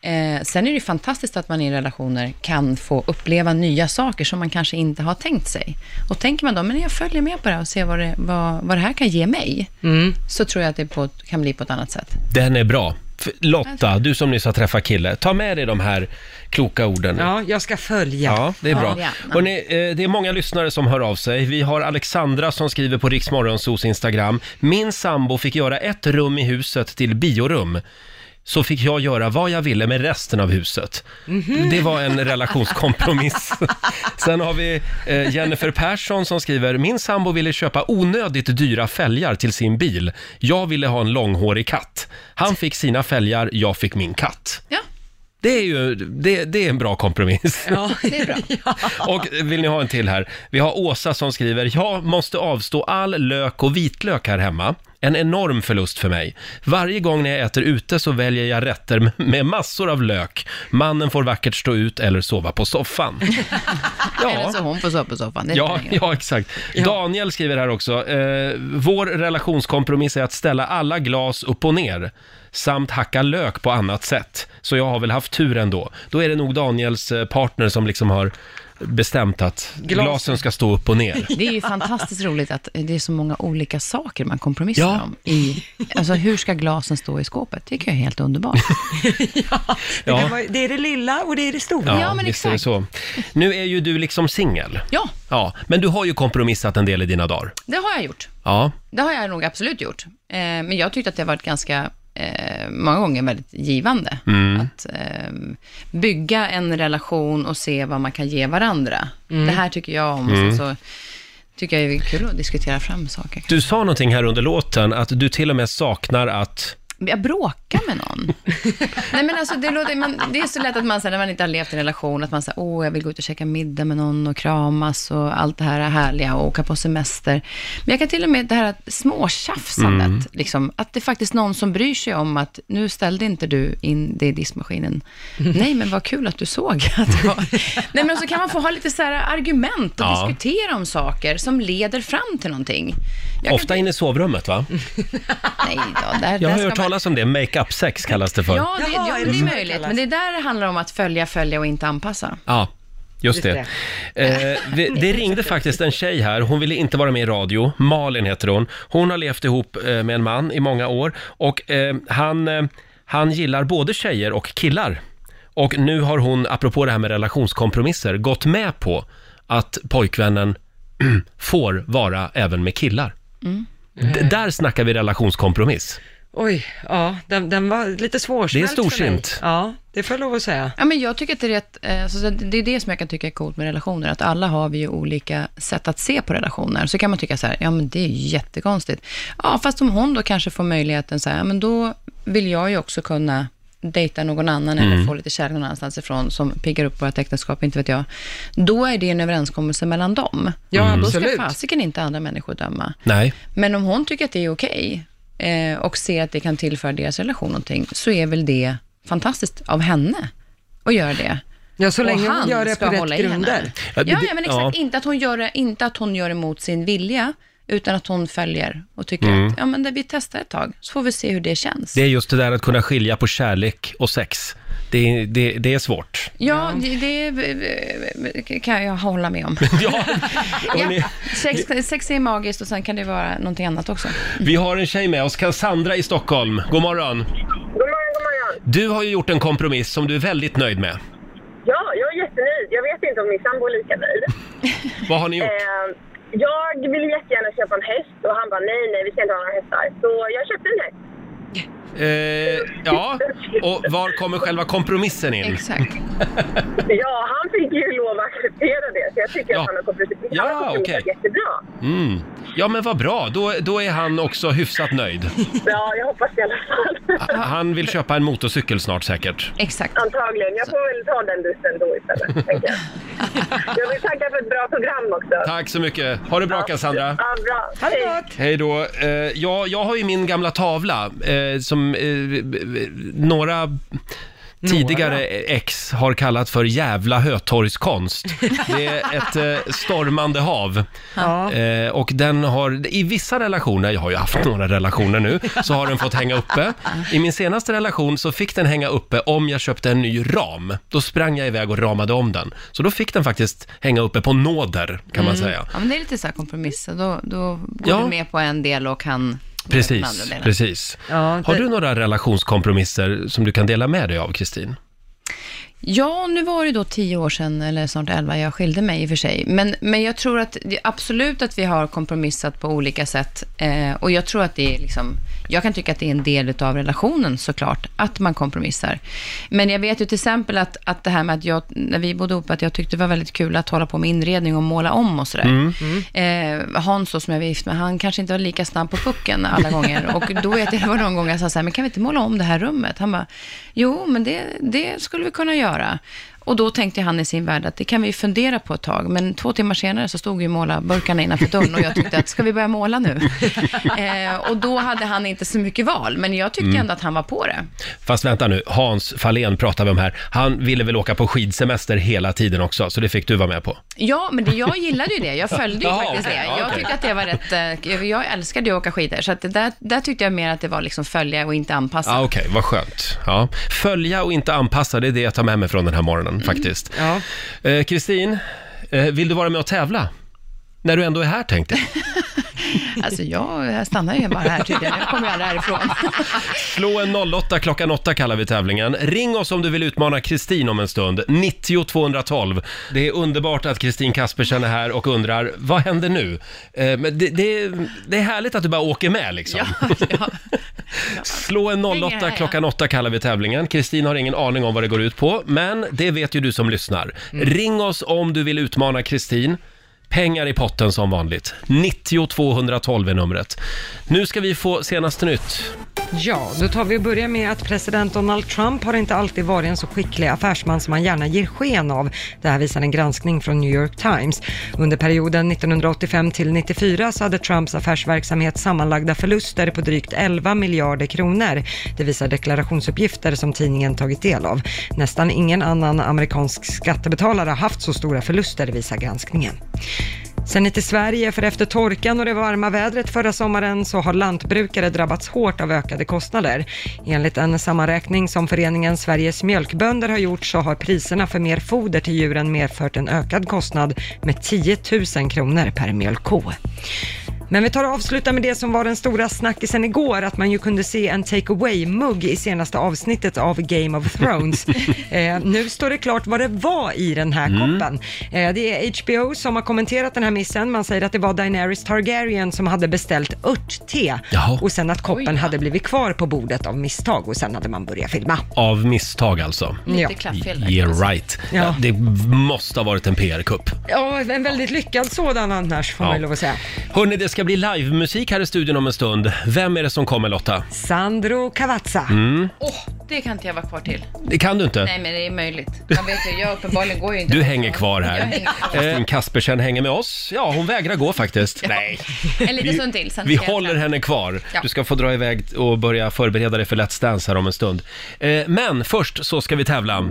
Speaker 7: Eh, sen är det ju fantastiskt att man i relationer kan få uppleva nya saker som man kanske inte har tänkt sig. Och tänker man då, men jag följer med på det här och ser vad det, vad, vad det här kan ge mig,
Speaker 1: Mm.
Speaker 7: så tror jag att det på, ett- kan bli på ett annat sätt.
Speaker 1: Den är bra. F- Lotta, du som nyss har träffat kille, ta med dig de här kloka orden.
Speaker 3: Ja, jag ska följa.
Speaker 1: Ja, det är bra.
Speaker 3: Ja.
Speaker 1: Hörrni, eh, det är många lyssnare som hör av sig. Vi har Alexandra som skriver på Riksmorgonsos Instagram. Min sambo fick göra ett rum i huset till biorum. Så fick jag göra vad jag ville med resten av huset. Det var en relationskompromiss. Sen har vi eh, Jennifer Persson som skriver, min sambo ville köpa onödigt dyra fälgar till sin bil. Jag ville ha en långhårig katt. Han fick sina fälgar, jag fick min katt.
Speaker 7: Ja.
Speaker 1: Det är ju det, det är en bra kompromiss.
Speaker 7: det är bra.
Speaker 1: Och vill ni ha en till här? Vi har Åsa som skriver, jag måste avstå all lök och vitlök här hemma en enorm förlust för mig. Varje gång när jag äter ute så väljer jag rätter med massor av lök. Mannen får vackert stå ut eller sova på soffan.
Speaker 7: Eller så hon får sova på soffan. Det
Speaker 1: Ja,
Speaker 7: spelar ingen roll.
Speaker 1: ja, exakt. Daniel skriver här också. Eh, vår relationskompromiss är att ställa alla glas upp och ner samt hacka lök på annat sätt. Så jag har väl haft tur ändå. Då är det nog Daniels eh, partner som liksom har bestämt att
Speaker 7: Glasen.
Speaker 1: glasen ska stå upp och ner.
Speaker 7: Det är ju fantastiskt roligt att det är så många olika saker man kompromissar
Speaker 1: Ja.
Speaker 7: om. I, alltså hur ska glasen stå i skåpet? Det tycker jag är helt underbart.
Speaker 3: Det,
Speaker 1: Ja.
Speaker 3: kan vara, det är det lilla och det är det stora.
Speaker 1: Ja, visst är det så. Nu är ju du liksom singel.
Speaker 7: Ja.
Speaker 1: ja. Men du har ju kompromissat en del i dina dagar.
Speaker 7: Det har jag gjort.
Speaker 1: Ja.
Speaker 7: Det har jag nog absolut gjort. Eh, men jag tyckte att det har varit ganska, eh, många gånger väldigt givande.
Speaker 1: Mm.
Speaker 7: Att eh, bygga en relation och se vad man kan ge varandra. Det här tycker jag om. och
Speaker 1: Mm.
Speaker 7: Sen så tycker jag det är kul att diskutera fram saker.
Speaker 1: Du sa någonting här under låten att du till och med saknar att...
Speaker 7: Jag bråkar med någon. Nej, men alltså, det, låter, man, det är så lätt att man, så här, när man inte har levt i en relation, att man säger, åh, jag vill gå ut och käka middag med någon och kramas och allt det här är härliga och åka på semester. Men jag kan till och med, det här att småtjafsandet,
Speaker 13: Mm.
Speaker 7: liksom, att det är faktiskt någon som bryr sig om att, nu ställde inte du in det i diskmaskinen.
Speaker 1: Mm.
Speaker 7: Nej, men vad kul att du såg att jag... Nej, men så kan man få ha lite så här argument och
Speaker 1: Ja.
Speaker 7: diskutera om saker som leder fram till någonting. Jag kan
Speaker 1: Ofta inne i sovrummet, va?
Speaker 7: Nej då, där,
Speaker 1: Jag
Speaker 7: där
Speaker 1: har
Speaker 7: ska
Speaker 1: hört
Speaker 7: man-
Speaker 1: talas om det. Make-up-sex kallas det för.
Speaker 7: Ja, det, ja,
Speaker 4: är det
Speaker 7: det
Speaker 4: så
Speaker 7: är
Speaker 4: det
Speaker 7: möjligt.
Speaker 4: kallas?
Speaker 7: Men det där handlar om att följa, följa och inte anpassa.
Speaker 1: Ja, just det.
Speaker 7: Just
Speaker 1: Eh, vi- det ringde faktiskt en tjej här, hon ville inte vara med i radio. Malin heter hon. Hon har levt ihop eh, med en man i många år och eh, han, eh, han gillar både tjejer och killar. Och nu har hon, apropå det här med relationskompromisser, gått med på att pojkvännen får vara även med killar.
Speaker 3: Mm.
Speaker 1: D- där snackar vi relationskompromiss.
Speaker 3: Oj, ja, den, den var lite svårsmält
Speaker 1: Det är storsint.
Speaker 3: för mig. Ja, det får jag lov att säga.
Speaker 7: Ja, men jag tycker att det är rätt, eh, så det det är det som jag kan tycka är coolt med relationer, att alla har vi ju olika sätt att se på relationer. Så kan man tycka så här, ja men det är ju jättekonstigt. Ja, fast om hon då kanske får möjligheten så här, ja, men då vill jag ju också kunna dejta någon annan eller
Speaker 13: Mm.
Speaker 7: få lite kärlek någon annanstans ifrån som piggar upp vårt äktenskap, inte vet jag. Då är det en överenskommelse mellan dem.
Speaker 13: Ja, Mm.
Speaker 7: Då ska
Speaker 13: absolut.
Speaker 7: fasiken inte andra människor döma.
Speaker 1: Nej.
Speaker 7: Men om hon tycker att det är okej eh, och ser att det kan tillföra deras relation någonting, så är väl det fantastiskt av henne att göra det.
Speaker 3: Ja, så
Speaker 7: Och
Speaker 3: länge hon
Speaker 7: han
Speaker 3: gör det
Speaker 7: ska
Speaker 3: på rätt
Speaker 7: hålla i henne.
Speaker 3: grunder.
Speaker 7: Ja,
Speaker 1: Ja, det-
Speaker 7: ja, men exakt.
Speaker 1: ja.
Speaker 7: Inte, att hon gör det, inte att hon gör emot sin vilja, utan att hon följer och tycker
Speaker 1: Mm.
Speaker 7: att ja, men det, vi testar ett tag, så får vi se hur det känns.
Speaker 1: Det är just det där att kunna skilja på kärlek och sex. Det, det, det är svårt.
Speaker 7: Ja, det, det kan jag hålla med om.
Speaker 1: ja,
Speaker 7: ja. Sex, sex är magiskt och sen kan det vara någonting annat också.
Speaker 1: Vi har en tjej med oss, Cassandra i Stockholm. God morgon!
Speaker 12: God morgon, god morgon.
Speaker 1: Du har ju gjort en kompromiss som du är väldigt nöjd med.
Speaker 12: Ja, jag är jättenöjd. Jag vet inte om min sambo är lika nöjd.
Speaker 1: Vad har ni gjort?
Speaker 12: Eh, jag ville jättegärna köpa en häst och han bara nej, nej, vi ska inte ha några hästar. Så jag köpte en häst.
Speaker 1: Eh, ja, och var kommer själva kompromissen in?
Speaker 7: Exakt.
Speaker 12: ja, han fick ju lov att acceptera det, så jag tycker
Speaker 1: Ja.
Speaker 12: att han har kompromissat
Speaker 1: Ja,
Speaker 12: Han har kompromissat
Speaker 1: okej.
Speaker 12: jättebra.
Speaker 1: Mm. Ja, men vad bra. Då, då är han också hyfsat nöjd.
Speaker 12: Ja, jag hoppas i alla fall.
Speaker 1: Han vill köpa en motorcykel snart säkert.
Speaker 7: Exakt.
Speaker 12: Antagligen. Jag får väl ta den bussen då istället, tänker jag. Jag vill tacka för ett bra program också.
Speaker 1: Tack så mycket. Ha det bra Cassandra.
Speaker 12: Ja, bra. Ha det gott!
Speaker 1: Hej då. Eh, ja, jag har ju min gamla tavla eh, som eh, b- b- några tidigare ex har kallat för jävla hötorgskonst. Det är ett eh, stormande hav.
Speaker 3: Ja.
Speaker 1: Eh, och den har, i vissa relationer, jag har ju haft några relationer nu, så har den fått hänga uppe. I min senaste relation så fick den hänga uppe om jag köpte en ny ram. Då sprang jag iväg och ramade om den. Så då fick den faktiskt hänga uppe på nåder, kan man
Speaker 7: Mm.
Speaker 1: säga.
Speaker 7: Ja, men det är lite så här kompromiss. Då, då går
Speaker 1: Ja.
Speaker 7: du med på en del och han går med på den andra
Speaker 1: Precis,
Speaker 7: delen.
Speaker 1: precis. Har du några relationskompromisser som du kan dela med dig av, Kristin?
Speaker 7: Ja, nu var det då tio år sedan, eller snart elva, jag skilde mig i och för sig. Men, men jag tror att det, absolut att vi har kompromissat på olika sätt. Eh, och jag tror att det är liksom, jag kan tycka att det är en del av relationen såklart, att man kompromissar. Men jag vet ju till exempel att, att det här med att jag, när vi bodde ihop, att jag tyckte det var väldigt kul att hålla på med inredning och måla om och sådär.
Speaker 13: Mm.
Speaker 7: Eh, Hans då, som jag var gift med, han kanske inte var lika snabb på pucken alla gånger. Och då vet jag, det var någon gång jag sa så här, men kan vi inte måla om det här rummet? Han bara, jo, men det, det skulle vi kunna göra. Och då tänkte han i sin värld att det kan vi fundera på ett tag. Men två timmar senare så stod ju målarburkarna innanför dörren och jag tyckte att ska vi börja måla nu? eh, och då hade han inte så mycket val, men jag tyckte
Speaker 1: Mm.
Speaker 7: ändå att han var på det.
Speaker 1: Fast vänta nu, Hans Fahlén pratar vi om här. Han ville väl åka på skidsemester hela tiden också, så det fick du vara med på.
Speaker 7: Ja, men det, jag gillade ju det. Jag följde ju
Speaker 1: Jaha,
Speaker 7: faktiskt
Speaker 1: okej,
Speaker 7: det.
Speaker 1: ja,
Speaker 7: Jag
Speaker 1: okej.
Speaker 7: tyckte att det var rätt... eh, Jag älskade ju att åka skidor, så att det där, där tyckte jag mer att det var liksom följa och inte anpassa.
Speaker 1: Ja, Ah, Okej, vad skönt. Ja. Följa och inte anpassa, det är det jag tar med mig från den här morgonen faktiskt. Eh, Kristin, eh, vill du vara med och tävla? När du ändå är här tänkte jag.
Speaker 7: Alltså jag jag stannar ju bara här tydligen. Jag kommer ju aldrig härifrån.
Speaker 1: Slå en 08 klockan 8 kallar vi tävlingen. Ring oss om du vill utmana Kristin om en stund. 90 212. Det är underbart att Kristin Kaspersen är här och undrar, vad händer nu? Eh, men det, det, det är härligt att du bara åker med liksom. Slå en
Speaker 4: Hänger här,
Speaker 1: 08
Speaker 4: ja.
Speaker 1: klockan 8 kallar vi tävlingen. Kristin har ingen aning om vad det går ut på, men det vet ju du som lyssnar.
Speaker 4: Mm.
Speaker 1: Ring oss om du vill utmana Kristin. Pengar i potten som vanligt. 90 212 är numret. Nu ska vi få senaste nytt.
Speaker 3: Ja, då tar vi och börjar med att president Donald Trump har inte alltid varit en så skicklig affärsman som han gärna ger sken av. Det här visar en granskning från New York Times. Under perioden 1985 till 94 så hade Trumps affärsverksamhet sammanlagda förluster på drygt 11 miljarder kronor. Det visar deklarationsuppgifter som tidningen tagit del av. Nästan ingen annan amerikansk skattebetalare har haft så stora förluster, visar granskningen. Sen till Sverige, för efter torkan och det varma vädret förra sommaren så har lantbrukare drabbats hårt av ökade kostnader. Enligt en sammanräkning som föreningen Sveriges mjölkbönder har gjort så har priserna för mer foder till djuren medfört en ökad kostnad med 10 000 kronor per mjölkko. Men vi tar och avslutar med det som var den stora snackisen igår, att man ju kunde se en take away-mugg i senaste avsnittet av Game of Thrones. eh, nu står det klart vad det var i den här
Speaker 4: Mm.
Speaker 3: koppen. Eh, det är HBO som har kommenterat den här missen. Man säger att det var Daenerys Targaryen som hade beställt örtte
Speaker 1: Jaha.
Speaker 3: och sen att koppen hade blivit kvar på bordet av misstag och sen hade man börjat filma.
Speaker 1: Av misstag
Speaker 4: Mm.
Speaker 1: alltså.
Speaker 3: Lite Ja. klappfel där,
Speaker 1: Yeah
Speaker 3: kan
Speaker 7: alltså.
Speaker 3: man säga.
Speaker 1: right.
Speaker 3: Ja.
Speaker 1: Ja. Det måste ha varit en PR-kupp.
Speaker 3: Ja, en väldigt lyckad sådan annars får
Speaker 1: Ja.
Speaker 3: man ju lov att säga.
Speaker 1: Hörni, det ska bli livemusik här i studion om en stund. Vem är det som kommer Lotta?
Speaker 3: Sandro Cavazza.
Speaker 1: Mm.
Speaker 7: Åh, det kan inte jag vara kvar till.
Speaker 1: Det kan du inte.
Speaker 7: Nej, men det är möjligt. Man vet ju, jag uppenbarligen går ju inte.
Speaker 1: Du hänger kvar
Speaker 7: Jag
Speaker 1: här.
Speaker 7: hänger kvar.
Speaker 1: Kristin Kaspersen hänger med oss. Ja, hon vägrar gå faktiskt. Nej.
Speaker 7: En liten stund till, sen
Speaker 1: Vi
Speaker 7: ska jag
Speaker 1: håller henne kvar.
Speaker 7: Ja.
Speaker 1: Du ska få dra iväg och börja förbereda dig för Let's Dance här om en stund. Eh, Men först så ska vi tävla.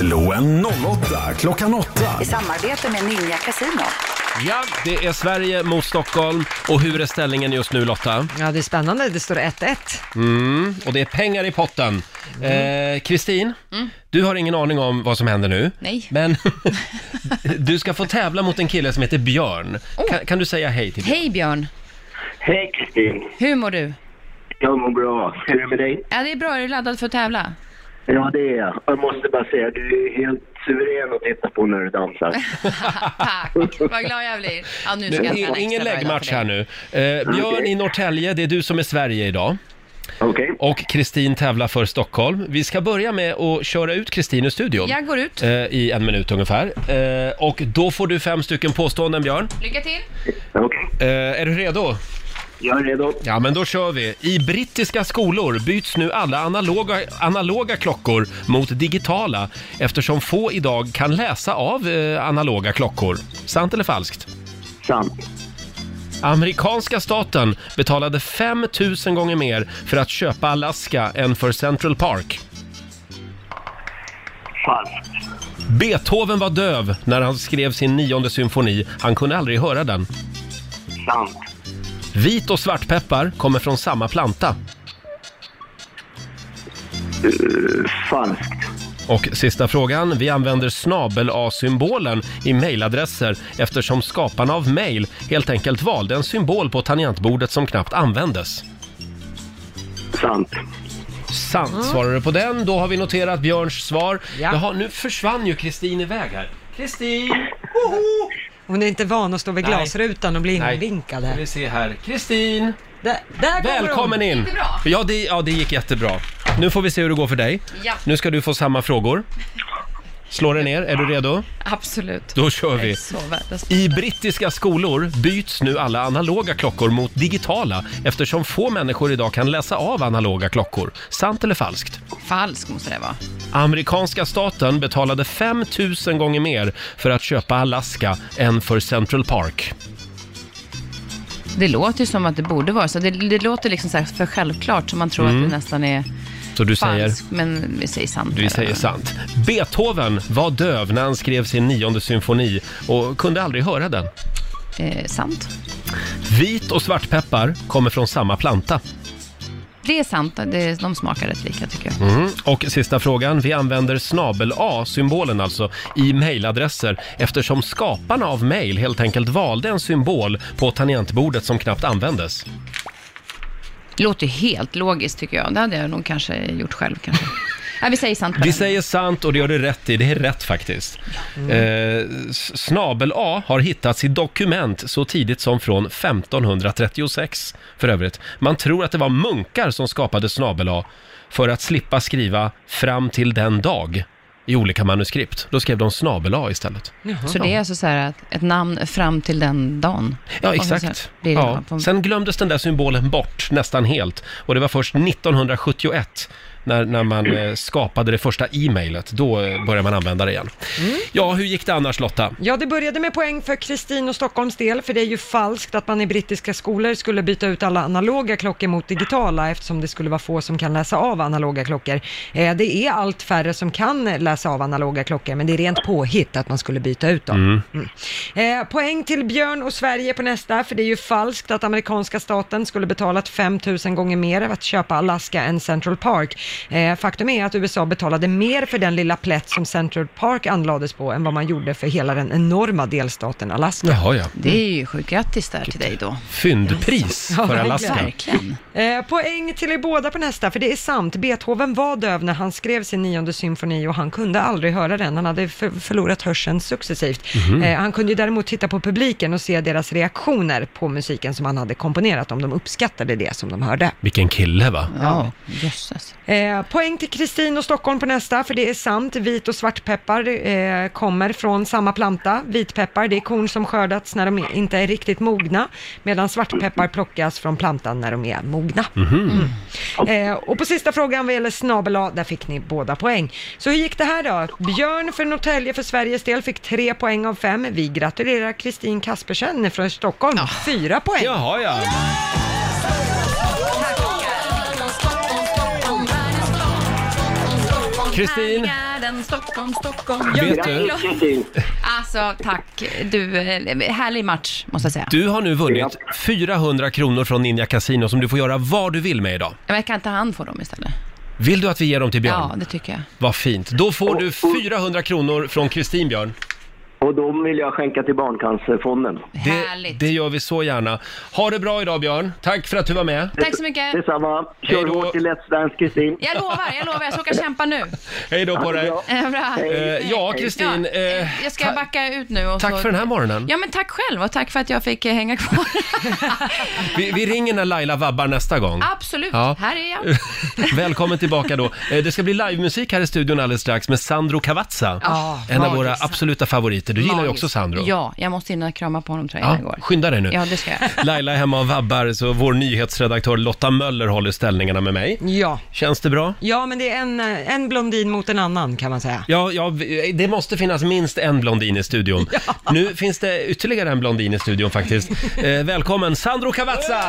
Speaker 11: Slå en 08 klockan 8.
Speaker 13: I samarbete med Ninja Casino.
Speaker 1: Ja, det är Sverige mot Stockholm. Och hur är ställningen just nu Lotta?
Speaker 3: Ja, det är spännande. Det står 1-1.
Speaker 1: Mm, och det är pengar i potten. Eh, Kristin,
Speaker 7: Mm.
Speaker 1: du har ingen aning om vad som händer nu.
Speaker 7: Nej.
Speaker 1: Men du ska få tävla mot en kille som heter Björn. Kan, kan du säga hej till Björn?
Speaker 7: Oh. Hej Björn,
Speaker 14: Hej Kristin!
Speaker 7: hur mår du?
Speaker 14: Jag mår bra. Hur är det med dig?
Speaker 7: Ja, det är bra. Är du laddad för att tävla?
Speaker 14: Ja, det är jag. Jag måste bara säga, du är helt suverän att titta på när du dansar.
Speaker 7: Tack, vad glad jag blir. Ja, nu ska jag
Speaker 1: Nu,
Speaker 7: ställa extra
Speaker 1: ingen
Speaker 7: bra idag
Speaker 1: läggmatch
Speaker 7: för dig.
Speaker 1: här nu. Eh, Björn
Speaker 7: Okej.
Speaker 1: i Norrtälje, det är du som är Sverige idag. Och Kristin tävlar för Stockholm. Vi ska börja med att köra ut Kristin ur studion.
Speaker 7: Jag går ut.
Speaker 1: Eh, I en minut ungefär. Eh, och då får du fem stycken påståenden, Björn.
Speaker 7: Lycka till.
Speaker 1: Eh, är du redo?
Speaker 14: Jag är redo.
Speaker 1: Ja, men då kör vi. I brittiska skolor byts nu alla analoga, analoga klockor mot digitala eftersom få idag kan läsa av eh, analoga klockor. Sant eller falskt?
Speaker 14: Sant.
Speaker 1: Amerikanska staten betalade 5 000 gånger mer för att köpa Alaska än för Central Park.
Speaker 14: Falskt.
Speaker 1: Beethoven var döv när han skrev sin nionde symfoni. Han kunde aldrig höra den.
Speaker 14: Sant.
Speaker 1: Vit och svartpeppar kommer från samma planta.
Speaker 14: falskt.
Speaker 1: Och sista frågan. Vi använder snabel-A-symbolen i mejladresser eftersom skaparna av mejl helt enkelt valde en symbol på tangentbordet som knappt användes.
Speaker 14: Sant.
Speaker 1: Sant svarar du på den. Då har vi noterat Björns svar. Jaha, nu försvann ju Kristin iväg här. Kristin!
Speaker 3: Hon är inte van att stå vid
Speaker 1: Nej.
Speaker 3: glasrutan och bli
Speaker 1: Nej.
Speaker 3: invinkad.
Speaker 1: Ska vi se här. Kristin!
Speaker 3: Där, där kommer
Speaker 1: Välkommen
Speaker 3: hon.
Speaker 1: in! Ja det, ja, det gick jättebra. Nu får vi se hur det går för dig.
Speaker 7: Ja.
Speaker 1: Nu ska du få samma frågor. Slå dig ner, är du redo?
Speaker 7: Absolut.
Speaker 1: Då kör
Speaker 7: Jag är
Speaker 1: vi.
Speaker 7: så värdelös.
Speaker 1: I brittiska skolor byts nu alla analoga klockor mot digitala eftersom få människor idag kan läsa av analoga klockor. Sant eller falskt?
Speaker 7: Falsk måste det vara.
Speaker 1: Amerikanska staten betalade 5 000 gånger mer för att köpa Alaska än för Central Park.
Speaker 7: Det låter ju som att det borde vara så. Det, det låter liksom så här för självklart, så man tror
Speaker 1: Mm.
Speaker 7: att det nästan är
Speaker 1: Så du säger?
Speaker 7: falskt. Men vi säger sant.
Speaker 1: Vi säger sant. Beethoven var döv när han skrev sin nionde symfoni och kunde aldrig höra den.
Speaker 7: Eh, sant.
Speaker 1: Vit och svartpeppar kommer från samma planta.
Speaker 7: Det är sant. Det, de smakar rätt lika, tycker jag.
Speaker 1: Mm. Och sista frågan. Vi använder snabel-a-symbolen alltså i mejladresser eftersom skaparna av mejl helt enkelt valde en symbol på tangentbordet som knappt användes.
Speaker 7: Låter ju helt logiskt, tycker jag. Det hade jag nog kanske gjort själv, kanske. Nej, vi säger sant. på
Speaker 1: Vi
Speaker 7: den.
Speaker 1: säger sant och det gör du rätt i. Det är rätt faktiskt. Eh, s- Snabel-A har hittats i dokument så tidigt som från 1536 för övrigt. Man tror att det var munkar som skapade snabel-A för att slippa skriva fram till den dag i olika manuskript. Då skrev de snabel-A istället.
Speaker 7: Så det är alltså så här att ett namn fram till den dagen.
Speaker 1: Ja,
Speaker 7: Och så
Speaker 1: exakt.
Speaker 7: blir det
Speaker 1: Ja.
Speaker 7: på-
Speaker 1: Sen glömdes den där symbolen bort nästan helt. Och det var först 1971 när, när man eh, skapade det första e-mailet. Då eh, började man använda det igen.
Speaker 7: Mm.
Speaker 1: Ja, hur gick det annars Lotta?
Speaker 3: Ja, det började med poäng för Kristin och Stockholms del, för det är ju falskt att man i brittiska skolor skulle byta ut alla analoga klockor mot digitala, eftersom det skulle vara få som kan läsa av analoga klockor. Eh, det är allt färre som kan läsa av analoga klockor, men det är rent påhitt att man skulle byta ut dem.
Speaker 4: Mm.
Speaker 3: Eh, poäng till Björn och Sverige på nästa, för det är ju falskt att amerikanska staten skulle betalat 5 000 gånger mer att köpa Alaska än Central Park. Eh, faktum är att USA betalade mer för den lilla plätt som Central Park anlades på än vad man gjorde för hela den enorma delstaten Alaska.
Speaker 1: Jaha, ja.
Speaker 7: Det är ju sjukt grattis där till dig då.
Speaker 1: Fyndpris
Speaker 3: Ja,
Speaker 1: för
Speaker 3: verkligen.
Speaker 1: Alaska.
Speaker 7: Verkligen.
Speaker 3: Eh, poäng till er båda på nästa, för det är sant. Beethoven var döv när han skrev sin nionde symfoni och han kunde aldrig höra den. Han hade för- förlorat hörseln successivt.
Speaker 4: Mhm.
Speaker 3: Eh, han kunde ju däremot titta på publiken och se deras reaktioner på musiken som han hade komponerat, om de uppskattade det som de hörde.
Speaker 1: Vilken kille va?
Speaker 7: Ja, jösses.
Speaker 3: Eh, poäng till Kristin och Stockholm på nästa, för det är sant. Vit och svartpeppar eh, kommer från samma planta. Vitpeppar, det är korn som skördats när de inte är riktigt mogna, medan svartpeppar plockas från plantan när de är mogna.
Speaker 4: Mhm.
Speaker 3: Eh, och på sista frågan vad gäller snabel A, där fick ni båda poäng. Så hur gick det här då? Björn för Norrtälje för Sveriges del fick tre poäng av fem. Vi gratulerar Kristin Kaspersen från Stockholm, fyra poäng.
Speaker 1: Jaha, ja. Kristin,
Speaker 7: Världen, Stockholm, Stockholm.
Speaker 1: Vet
Speaker 7: Jag
Speaker 1: du-
Speaker 7: är glad. Alltså, tack. Du, eh, härlig match, måste jag säga.
Speaker 1: du har nu vunnit 400 kronor från Ninja Casino som du får göra vad du vill med idag.
Speaker 7: Ja, Men kan inte han få dem istället?
Speaker 1: Vill du att vi ger dem till
Speaker 7: Ja,
Speaker 1: Björn?
Speaker 7: det tycker jag.
Speaker 1: Vad fint. Då får du 400 kronor från Kristin, Björn.
Speaker 14: Och de vill jag skänka till Barncancerfonden.
Speaker 1: Det, det gör vi så gärna. Ha det bra idag Björn. Tack för att du var med.
Speaker 7: Tack så mycket.
Speaker 14: Detsamma.
Speaker 1: Hej
Speaker 14: Kör
Speaker 1: då.
Speaker 14: hårt i Let's Dance, Kristin.
Speaker 7: Jag lovar, jag lovar. Jag ska åka och kämpa nu.
Speaker 1: Hej då på dig.
Speaker 7: Eh, Bra.
Speaker 1: Eh, ja, Kristin.
Speaker 7: Ja,
Speaker 1: Eh,
Speaker 7: Jag ska backa ut nu. Och
Speaker 1: tack
Speaker 7: så...
Speaker 1: för den här morgonen.
Speaker 7: Ja, men tack själv och tack för att jag fick eh, hänga kvar.
Speaker 1: vi, vi ringer när Laila vabbar nästa gång.
Speaker 7: Absolut,
Speaker 1: Ja.
Speaker 7: här är jag.
Speaker 1: Välkommen tillbaka då. Eh, Det ska bli livemusik här i studion alldeles strax med Sandro Cavazza.
Speaker 7: Ja,
Speaker 1: en av våra
Speaker 7: magiskt.
Speaker 1: absoluta favoriter. Du gillar ju
Speaker 7: Magiskt.
Speaker 1: också Sandro.
Speaker 7: Ja, jag måste in och krama på honom tror jag
Speaker 1: Ja,
Speaker 7: innan jag går.
Speaker 1: skynda dig nu.
Speaker 7: Ja, det ska jag.
Speaker 1: Laila är hemma och vabbar, så vår nyhetsredaktör Lotta Möller håller ställningarna med mig.
Speaker 3: Ja.
Speaker 1: Känns det bra?
Speaker 3: Ja, men det är en, eh, en blondin mot en annan kan man säga.
Speaker 1: Ja, ja, vi- det måste finnas minst en blondin i studion. Nu finns det ytterligare en blondin i studion faktiskt. Eh, välkommen Sandro Cavazza!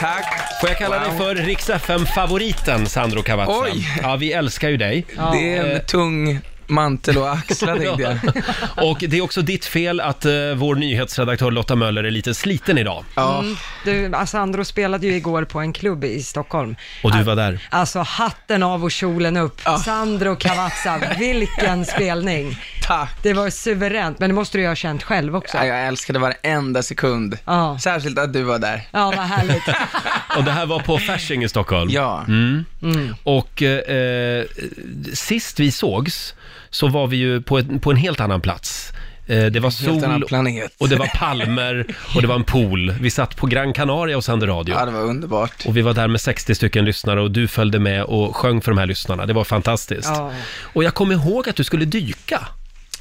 Speaker 1: Tack! Får jag kalla dig för Rix favoriten Sandro Cavazza?
Speaker 15: Oj.
Speaker 1: Ja, vi älskar ju dig.
Speaker 15: Det är en
Speaker 1: tung mantel att
Speaker 15: axla, tänkte jag.
Speaker 1: Och det är också ditt fel att eh, vår nyhetsredaktör Lotta Möller är lite sliten idag.
Speaker 3: Mm. Du, alltså Andro spelade ju igår på en klubb i Stockholm.
Speaker 1: Och du var där.
Speaker 3: Alltså hatten av och kjolen upp. Sandro Cavazza, vilken spelning.
Speaker 15: Tack.
Speaker 3: Det var suveränt, men det måste du ju ha känt själv också.
Speaker 15: Ja, jag älskade varenda sekund. Särskilt att du var där.
Speaker 3: Ja, vad härligt.
Speaker 1: Och det här var på Fasching i Stockholm.
Speaker 15: Ja.
Speaker 1: Mm. Och eh, eh, sist vi sågs så var vi ju på, ett, på en helt annan plats. Eh, Det var
Speaker 15: Helt annan
Speaker 1: sol
Speaker 15: planet.
Speaker 1: och det var palmer och det var en pool. Vi satt på Gran Canaria och sände radio. Ja, det var underbart. Och vi var där med 60 stycken lyssnare och du följde med och sjöng för de här lyssnarna. Det var fantastiskt.
Speaker 15: Ja.
Speaker 1: Och jag kommer ihåg att du skulle dyka.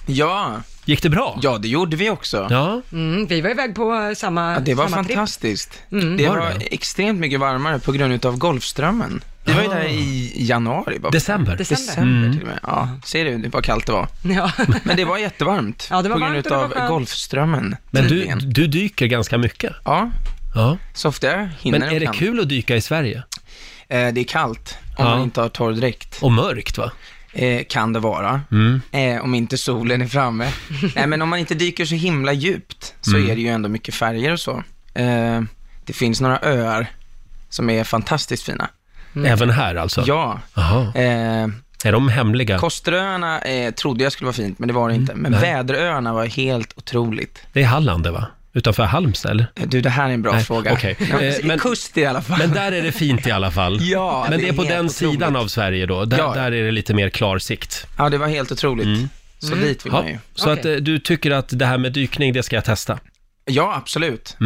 Speaker 15: Ja.
Speaker 1: Gick det bra?
Speaker 15: Ja, det gjorde vi också.
Speaker 1: Ja.
Speaker 3: Mm, vi var iväg på eh, samma
Speaker 15: Ja, det var
Speaker 3: samma tripp.
Speaker 15: fantastiskt.
Speaker 3: Mm.
Speaker 15: Det
Speaker 3: Var
Speaker 15: var,
Speaker 3: det?
Speaker 15: extremt mycket varmare på grund av Golfströmmen. Vi var ju där i januari. Bara.
Speaker 1: December.
Speaker 3: December.
Speaker 15: December,
Speaker 3: Mm.
Speaker 15: till och med. Ja, ser du vad kallt det var?
Speaker 3: Ja.
Speaker 15: Men det var jättevarmt
Speaker 3: Ja, det var
Speaker 15: på
Speaker 3: varmt
Speaker 15: grund
Speaker 3: och det var
Speaker 15: av
Speaker 3: skönt.
Speaker 15: Golfströmmen.
Speaker 1: Men du, du dyker ganska mycket.
Speaker 15: Ja.
Speaker 1: ja.
Speaker 15: Så ofta jag hinner
Speaker 1: Men är det kul att dyka i Sverige?
Speaker 15: Eh, det är kallt om
Speaker 1: Ja.
Speaker 15: man inte har torr dräkt.
Speaker 1: Och mörkt va?
Speaker 15: Eh, kan det vara.
Speaker 1: Mm.
Speaker 15: Eh, om inte solen är framme. Nej, men om man inte dyker så himla djupt så
Speaker 1: Mm.
Speaker 15: är det ju ändå mycket färger och så. Eh, det finns några öar som är fantastiskt fina.
Speaker 1: Även här alltså?
Speaker 15: Mm. Ja.
Speaker 1: Aha.
Speaker 15: Eh,
Speaker 1: Är de hemliga?
Speaker 15: Kosteröarna eh, trodde jag skulle vara fint, men det var det inte. Men
Speaker 1: Mm. Nej.
Speaker 15: väderöarna var helt otroligt.
Speaker 1: Det är Halland det va? Utanför Halmstad eller?
Speaker 15: Du, det här är en bra
Speaker 1: Nej,
Speaker 15: fråga.
Speaker 1: okej.
Speaker 15: Ja,
Speaker 1: Eh, men-
Speaker 15: Kust i alla fall.
Speaker 1: Men där är det fint i alla fall.
Speaker 15: Ja,
Speaker 1: Men
Speaker 15: det
Speaker 1: det är
Speaker 15: är
Speaker 1: på
Speaker 15: helt
Speaker 1: den
Speaker 15: otroligt.
Speaker 1: sidan av Sverige då. Där,
Speaker 15: Ja.
Speaker 1: där är det lite mer klar sikt.
Speaker 15: Ja, det var helt otroligt. Så
Speaker 1: Mm.
Speaker 15: dit vill
Speaker 1: Ja,
Speaker 15: man ju.
Speaker 1: Så att eh, du tycker att det här med dykning, det ska jag testa?
Speaker 15: Ja, absolut.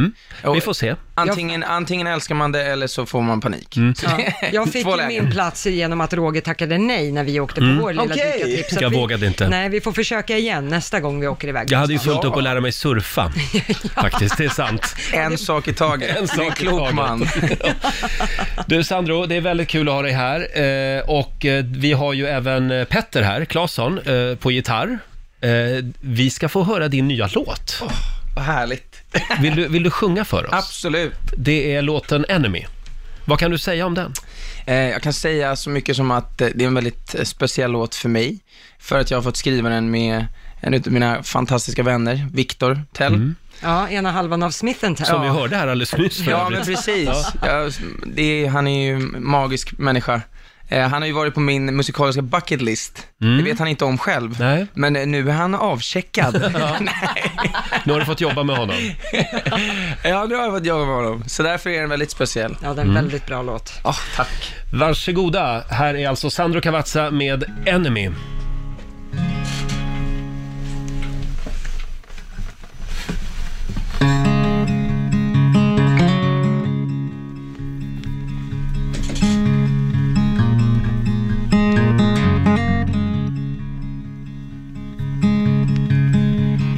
Speaker 1: Vi får se.
Speaker 15: Antingen, antingen älskar man det eller så får man panik.
Speaker 3: Ja. Jag fick
Speaker 15: Två
Speaker 3: ju
Speaker 15: lägen.
Speaker 3: min plats genom att Roger tackade nej när vi åkte på
Speaker 1: Mm.
Speaker 3: vår lilla
Speaker 15: Okej.
Speaker 3: dykartripp. Så att
Speaker 1: Jag
Speaker 3: vi-
Speaker 1: vågade inte.
Speaker 3: Nej, vi får försöka igen nästa gång vi åker iväg.
Speaker 1: Jag hade ju fullt
Speaker 3: någonstans.
Speaker 1: upp att lära mig surfa, faktiskt. Det är sant.
Speaker 15: En sak i taget.
Speaker 1: En sak i
Speaker 15: klok
Speaker 1: taget.
Speaker 15: man.
Speaker 1: Du Sandro, det är väldigt kul att ha dig här. Eh, och eh, vi har ju även eh, Petter här, Claesson, eh, på gitarr. Eh, vi ska få höra din nya låt.
Speaker 15: Vad härligt.
Speaker 1: Vill du, vill du sjunga för oss?
Speaker 15: Absolut.
Speaker 1: Det är låten Enemy. Vad kan du säga om den?
Speaker 15: Eh, jag kan säga så mycket som att eh, det är en väldigt eh, speciell låt för mig. För att jag har fått skriva den med en av mina fantastiska vänner, Viktor Tell.
Speaker 3: Ja, ena halvan av Smithen. här.
Speaker 15: Som
Speaker 3: ja.
Speaker 15: vi
Speaker 1: hörde här alldeles nyss Mm, för
Speaker 15: Ja,
Speaker 1: övrigt.
Speaker 15: men precis.
Speaker 1: Ja.
Speaker 15: Ja, det är, han är ju en magisk människa. Eh, han har ju varit på min musikaliska bucket list.
Speaker 1: Mm.
Speaker 15: Det vet han inte om själv. Men eh, nu är han avcheckad.
Speaker 1: Nu har du fått jobba med honom.
Speaker 15: ja, nu har jag fått jobba med honom. Så därför är den väldigt speciell.
Speaker 3: Ja,
Speaker 1: är en Mm. väldigt
Speaker 3: bra låt.
Speaker 15: tack.
Speaker 1: Varsågoda, här är alltså Sandro Cavazza med Enemy.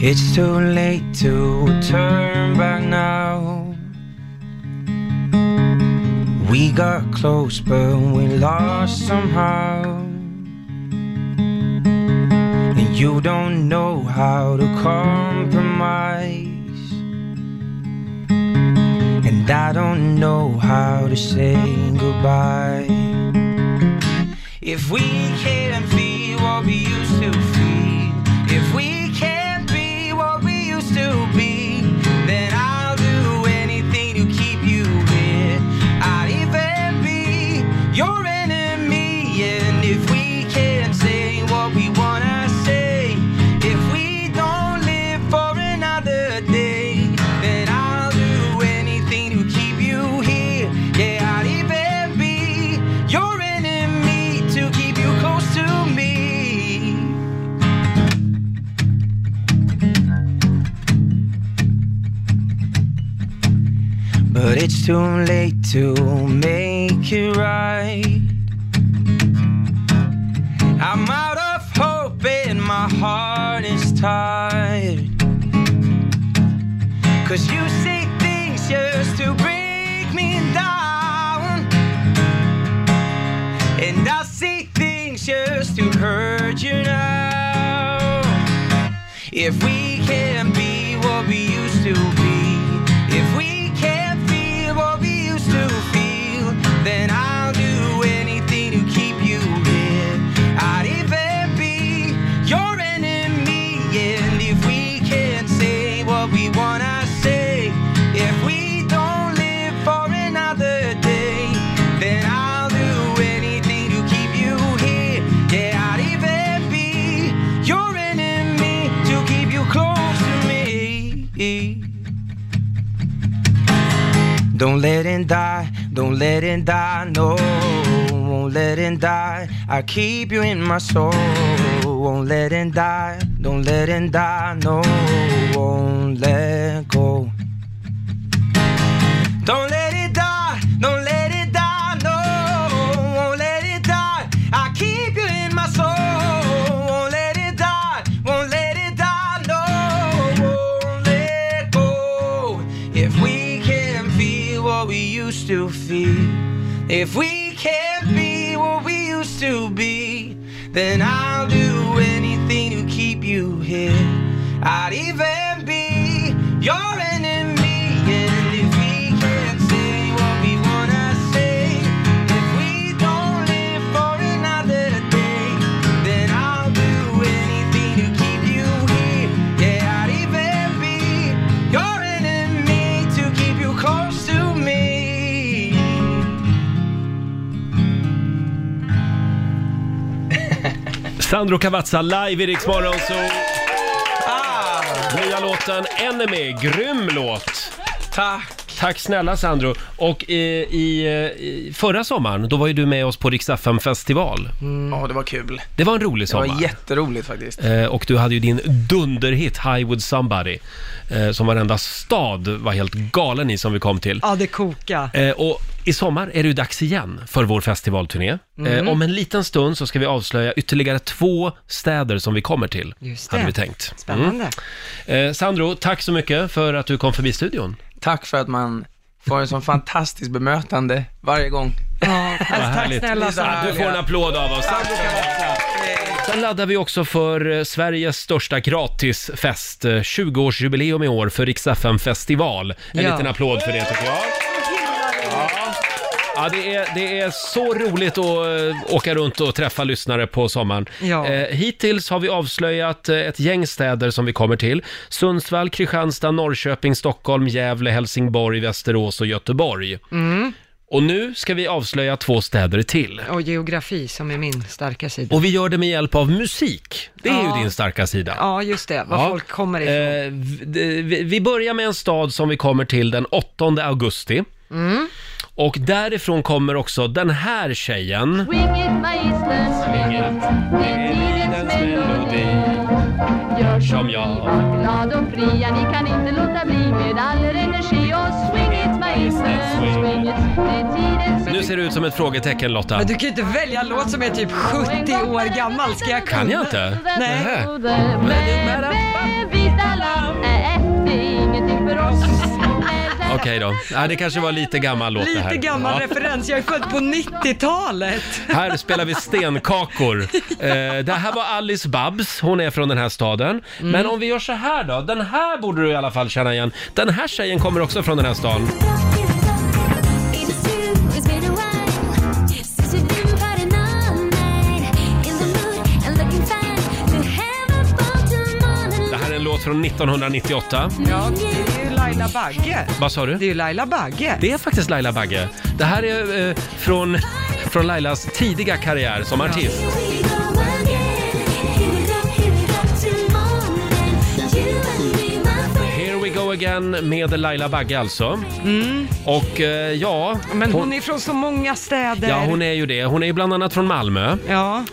Speaker 15: It's too late to turn back now. We got close, but we lost somehow. And you don't know how to compromise. And I don't know how to say goodbye. If we can't be what we used to be, if we can't be what we used to be, then I'll do anything to keep you here. I'd even be your enemy. And if we can't say what we wanna say, if we don't live for another day, then I'll do anything to keep you here. Yeah, I'd even be your enemy to keep you close to me. But it's too late to make it right. I'm out of hope and my heart is tired. Cause you say things just to break me down. And I say things just to hurt you now. If we can't be what we used to be, if we can't feel what we used to feel, then I'll do anything to keep you here. I'd even be your enemy, and if we can't say what we wanna say, if we don't live for another day, then I'll do anything to keep you here. Yeah, I'd even be your enemy to keep you close to me. Don't let him die, don't let him die, no. Won't let him die, I keep you in my soul. won't let him die, don't let him die, no, won't let go. Don't let it die, don't let it die, no, won't let it die. I keep you in my soul, won't let it die, won't let it die, no, won't let go. If we can feel what we used to feel, if we can't be what we used to be, then I'll do anything to keep you here. I'd even be your enemy. And if we can't say what we wanna say, if we don't live for another day, then I'll do anything to keep you here. Yeah, I'd even be your enemy to keep you close to me.
Speaker 1: Sandro Cavazza live i Rix Morgon Zoo. Nya låten Enemy, grym låt! Tack! Tack snälla Sandro. Och i, i, eh, i förra sommaren, då var ju du med oss på Rix FM festival.
Speaker 16: Ja, det var kul.
Speaker 1: Det var en rolig
Speaker 16: Det
Speaker 1: sommar.
Speaker 16: var jätteroligt faktiskt.
Speaker 1: Eh, och du hade ju din dunderhit High With Somebody, eh, som varenda stad var helt galen i som vi kom till.
Speaker 3: Ja, det koka.
Speaker 1: Eh, och i sommar är det ju dags igen för vår festivalturné.
Speaker 3: Mm.
Speaker 1: Eh, om en liten stund så ska vi avslöja ytterligare två städer som vi kommer till,
Speaker 3: Just det.
Speaker 1: hade vi tänkt.
Speaker 3: Spännande.
Speaker 1: Mm. Eh, Sandro, tack så mycket för att du kom förbi studion.
Speaker 16: Tack för att man får en sån fantastisk bemötande varje gång.
Speaker 3: Ja,
Speaker 1: Ja, Du får en applåd av oss. Tack. Sen laddar vi också för eh, Sveriges största gratisfest, eh, 20-årsjubileum i år för Rix FM festival. En
Speaker 4: Ja.
Speaker 1: liten applåd för det tycker jag. Ja, det är, det är så roligt att eh, åka runt och träffa lyssnare på sommaren.
Speaker 4: Ja.
Speaker 1: Eh, hittills har vi avslöjat eh, ett gäng städer som vi kommer till. Sundsvall, Kristianstad, Norrköping, Stockholm, Gävle, Helsingborg, Västerås och Göteborg.
Speaker 3: Mm.
Speaker 1: Och nu ska vi avslöja två städer till.
Speaker 3: Och geografi som är min starka sida.
Speaker 1: Och vi gör det med hjälp av musik. Det är
Speaker 3: Ja.
Speaker 1: ju din starka sida.
Speaker 3: Ja, just det. Var
Speaker 1: Ja.
Speaker 3: folk kommer ifrån.
Speaker 1: Eh, v- d- vi- vi börjar med en stad som vi kommer till den 8 augusti.
Speaker 4: Mm.
Speaker 1: Och därifrån kommer också den här tjejen.
Speaker 4: Swing it, my Island, swing it med tidens melodi. Gör
Speaker 1: Som jag.
Speaker 4: glad och fria, ni kan inte låta bli med all er energi och swing it, my Island, swing it med tidens
Speaker 1: Nu ser du ut som ett frågetecken Lotta.
Speaker 3: Men du kan ju inte välja en låt som är typ 70 år gammal. Ska jag
Speaker 1: Kan jag inte?
Speaker 3: Nej.
Speaker 1: Nähä.
Speaker 4: Vita lamm, äh, äh, det är ingenting för oss.
Speaker 1: Okej då. Ja, det kanske var lite gammal låt det här.
Speaker 3: Lite gammal
Speaker 1: Ja.
Speaker 3: referens. Jag är född på 90-talet.
Speaker 1: Här spelar vi stenkakor. Eh, det här var Alice Babs, hon är från den här staden. Men om vi gör så här då, den här borde du i alla fall känna igen. Den här tjejen kommer också från den här staden. Det här är en låt från 1998.
Speaker 3: Ja, det är ju Laila Bagge.
Speaker 1: Vad sa du?
Speaker 3: Det är ju Laila Bagge.
Speaker 1: Det är faktiskt Laila Bagge. Det här är eh, från, från Lailas tidiga karriär som artist. Here we go again med Laila Bagge alltså. Och eh, ja...
Speaker 3: Men hon är från så många städer.
Speaker 1: Ja, hon är ju det. Hon är ju bland annat från Malmö. Eh,
Speaker 3: Ja.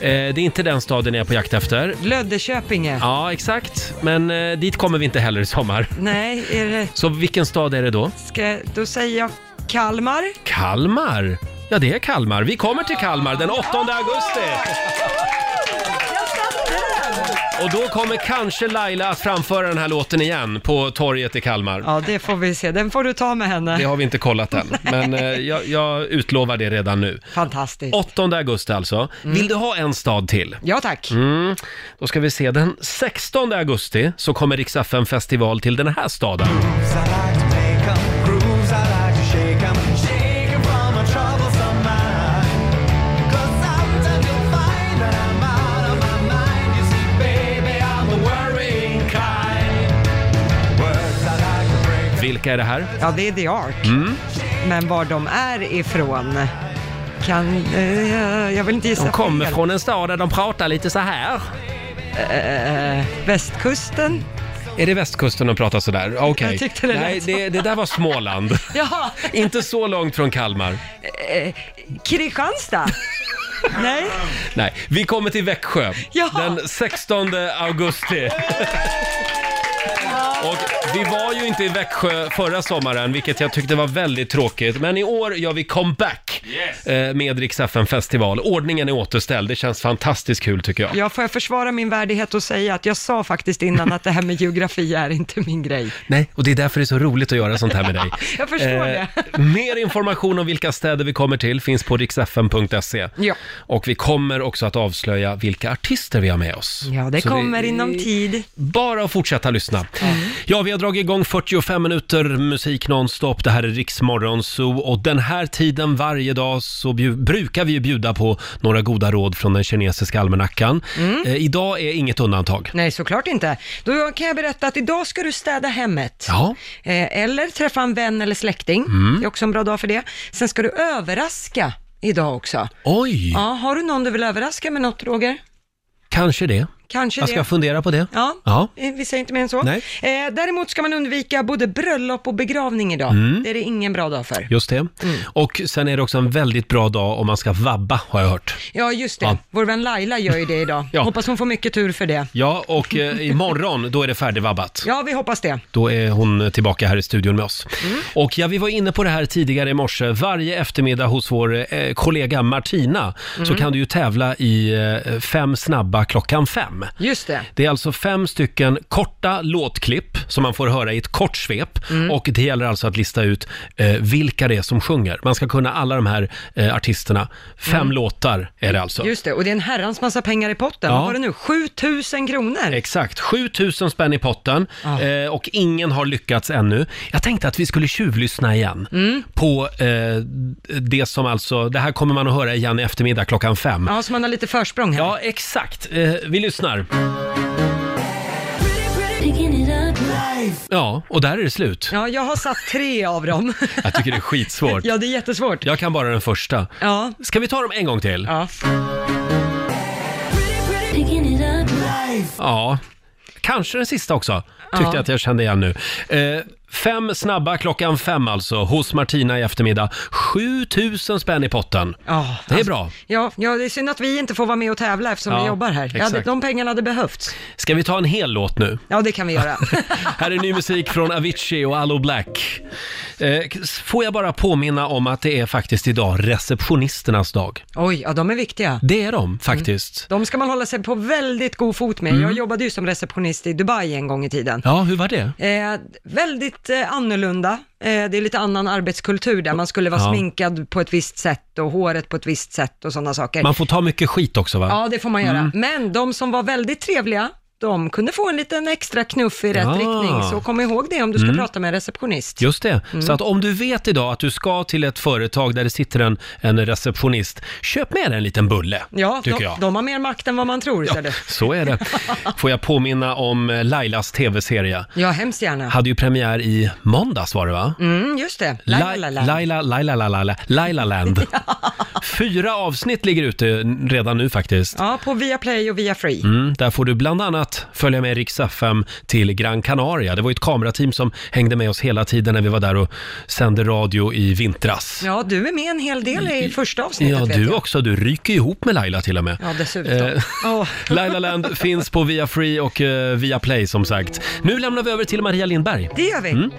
Speaker 1: Det är inte den staden jag är på jakt efter.
Speaker 3: Löddeköpinge.
Speaker 1: Ja, exakt. Men eh, dit kommer vi inte heller i sommar.
Speaker 3: Nej, är det...
Speaker 1: Så vilken stad är det då?
Speaker 3: Ska... då säger jag Kalmar.
Speaker 1: Kalmar. Ja, det är Kalmar. Vi kommer till Kalmar den 8 augusti. Och då kommer kanske Laila att framföra den här låten igen på torget i Kalmar.
Speaker 3: Ja, det får vi se. Den får du ta med henne.
Speaker 1: Det har vi inte kollat än, men eh, jag, jag utlovar det redan nu.
Speaker 3: Fantastiskt.
Speaker 1: 8 augusti alltså. Vill du ha en stad till?
Speaker 3: Ja, tack.
Speaker 1: Mm. Då ska vi se, den 16 augusti så kommer Rix FM festival till den här staden. Vilka är det här?
Speaker 3: Ja, det är The Ark.
Speaker 1: Mm.
Speaker 3: Men var de är ifrån kan... eh, jag- jag vill inte gissa
Speaker 1: De kommer
Speaker 3: fel.
Speaker 1: från en stad där de pratar lite så här.
Speaker 3: västkusten?
Speaker 1: Är det västkusten de pratar sådär? Okej.
Speaker 3: Jag tyckte det lät
Speaker 1: Nej,
Speaker 3: så.
Speaker 1: det, det där var Småland.
Speaker 3: Jaha,
Speaker 1: Inte så långt från Kalmar.
Speaker 3: eh, Kristianstad? Nej.
Speaker 1: Nej, vi kommer till Växjö
Speaker 3: Ja.
Speaker 1: den 16 augusti. Och vi var ju inte i Växjö förra sommaren, vilket jag tyckte var väldigt tråkigt. Men i år gör vi comeback eh, med Rix festival Ordningen är återställd, det känns fantastiskt kul tycker jag.
Speaker 3: Ja, får jag försvara min värdighet och säga att jag sa faktiskt innan att det här med geografi är inte min grej.
Speaker 1: Nej, och det är därför det är så roligt att göra sånt här med dig. Eh,
Speaker 3: Jag förstår det.
Speaker 1: Mer information om vilka städer vi kommer till finns på riksfn.se.
Speaker 3: Ja.
Speaker 1: Och vi kommer också att avslöja vilka artister vi har med oss.
Speaker 3: Ja, det
Speaker 1: Så
Speaker 3: kommer inom tid.
Speaker 1: Bara att fortsätta lyssna. Ja, vi har dragit igång 45 minuter musik nonstop. Det här är Riksmorgon Zoo och den här tiden varje dag så bju- brukar vi ju bjuda på några goda råd från den kinesiska almanackan.
Speaker 3: Mm.
Speaker 1: Eh, idag är inget undantag.
Speaker 3: Nej, såklart inte. Då kan jag berätta att idag ska du städa hemmet.
Speaker 1: Ja.
Speaker 3: Eh, Eller träffa en vän eller släkting.
Speaker 1: Mm.
Speaker 3: Det är också en bra dag för det. Sen ska du överraska idag också.
Speaker 1: Oj!
Speaker 3: Ja, har du någon du vill överraska med något, Roger?
Speaker 1: Kanske det.
Speaker 3: Kanske
Speaker 1: Jag ska
Speaker 3: det.
Speaker 1: fundera på det.
Speaker 3: Ja.
Speaker 1: ja.
Speaker 3: Eh, Vi säger inte mer än så.
Speaker 1: Nej.
Speaker 3: Eh, däremot ska man undvika både bröllop och begravning idag.
Speaker 1: Mm.
Speaker 3: Det är det ingen bra dag för.
Speaker 1: Just det. Och sen är det också en väldigt bra dag om man ska vabba, har jag hört.
Speaker 3: Ja, just det.
Speaker 1: Ja.
Speaker 3: Vår vän Laila gör ju det idag.
Speaker 1: Ja.
Speaker 3: Hoppas hon får mycket tur för det.
Speaker 1: Ja, och eh, imorgon, då är det färdigvabbat.
Speaker 3: Ja, vi hoppas det.
Speaker 1: Då är hon tillbaka här i studion med oss. Och ja, vi var inne på det här tidigare i morse. Varje eftermiddag hos vår eh, kollega Martina så
Speaker 3: Mm.
Speaker 1: kan du ju tävla i eh, Fem snabba klockan fem.
Speaker 3: Just det.
Speaker 1: Det är alltså fem stycken korta låtklipp som man får höra i ett kort svep.
Speaker 3: Mm.
Speaker 1: Och det gäller alltså att lista ut eh, vilka det är som sjunger. Man ska kunna alla de här eh, artisterna. Fem
Speaker 3: Mm.
Speaker 1: låtar är det alltså.
Speaker 3: Just det, och det är en herrans massa pengar i potten.
Speaker 1: Ja.
Speaker 3: Vad var det nu? 7000 kronor?
Speaker 1: Exakt, 7000 spänn i potten
Speaker 3: Ah.
Speaker 1: eh, och ingen har lyckats ännu. Jag tänkte att vi skulle tjuvlyssna igen
Speaker 3: Mm.
Speaker 1: på eh, det som alltså, det här kommer man att höra igen i eftermiddag klockan fem.
Speaker 3: Ja, så man har lite försprång här.
Speaker 1: Ja, exakt. Eh, vi lyssnar. Ja, och där är det slut.
Speaker 3: Ja, jag har satt tre av dem.
Speaker 1: Jag tycker det är skitsvårt.
Speaker 3: Ja, det är jättesvårt.
Speaker 1: Jag kan bara den första.
Speaker 3: Ja.
Speaker 1: Ska vi ta dem en gång till?
Speaker 3: Ja.
Speaker 1: Ja, kanske den sista också. Tyckte
Speaker 3: Ja.
Speaker 1: jag att jag kände igen nu. Eh, fem snabba klockan fem alltså, hos Martina i eftermiddag. 7000 spänn i potten.
Speaker 3: Ja,
Speaker 1: Det är bra.
Speaker 3: Ja, ja, det är synd att vi inte får vara med och tävla eftersom
Speaker 1: Ja,
Speaker 3: vi jobbar här. Ja,
Speaker 1: exakt.
Speaker 3: det- de pengarna hade behövts.
Speaker 1: Ska vi ta en hel låt nu?
Speaker 3: Ja, det kan vi göra.
Speaker 1: Här är ny musik från Avicii och Allo Black. Eh, får jag bara påminna om att det är faktiskt idag receptionisternas dag.
Speaker 3: Oj, ja de är viktiga.
Speaker 1: Det är de faktiskt.
Speaker 3: De ska man hålla sig på väldigt god fot med.
Speaker 1: Mm.
Speaker 3: Jag jobbade ju som receptionist i Dubai en gång i tiden.
Speaker 1: Ja, hur var det?
Speaker 3: Eh, väldigt eh, annorlunda. Eh, det är lite annan arbetskultur där man skulle vara
Speaker 1: Ja.
Speaker 3: sminkad på ett visst sätt och håret på ett visst sätt och sådana saker.
Speaker 1: Man får ta mycket skit också va?
Speaker 3: Ja, det får man göra.
Speaker 1: Mm.
Speaker 3: Men de som var väldigt trevliga, de kunde få en liten extra knuff i rätt
Speaker 1: Ja.
Speaker 3: riktning. Så kom ihåg det om du ska
Speaker 1: Mm.
Speaker 3: prata med en receptionist.
Speaker 1: Just det.
Speaker 3: Mm.
Speaker 1: Så att om du vet idag att du ska till ett företag där det sitter en, en receptionist, köp med dig en liten bulle,
Speaker 3: Ja,
Speaker 1: tycker
Speaker 3: de,
Speaker 1: jag.
Speaker 3: de har mer makt än vad man tror. Ja,
Speaker 1: Så är det. Får jag påminna om eh, Lailas tv-serie?
Speaker 3: ja hemskt gärna.
Speaker 1: Hade ju premiär i måndags var det va?
Speaker 3: Mm, just det.
Speaker 1: Lai-
Speaker 3: Laila, Laila.
Speaker 1: Laila, Laila, Laila, Laila Land. Fyra avsnitt ligger ute redan nu faktiskt.
Speaker 3: Ja, på Viaplay och Viafree.
Speaker 1: Mm, där får du bland annat följa med Rix FM till Gran Canaria. Det var ju ett kamerateam som hängde med oss hela tiden när vi var där och sände radio i vintras.
Speaker 3: Ja, du är med en hel del i första avsnittet
Speaker 1: Mm. Ja,
Speaker 3: vet
Speaker 1: du
Speaker 3: jag.
Speaker 1: också. Du ryker ihop med Laila till och med.
Speaker 3: Ja, dessutom.
Speaker 1: Eh,
Speaker 3: Åh.
Speaker 1: Laila Land finns på Via Free och eh, Via Play som sagt. Nu lämnar vi över till Maria Lindberg.
Speaker 3: Det gör vi.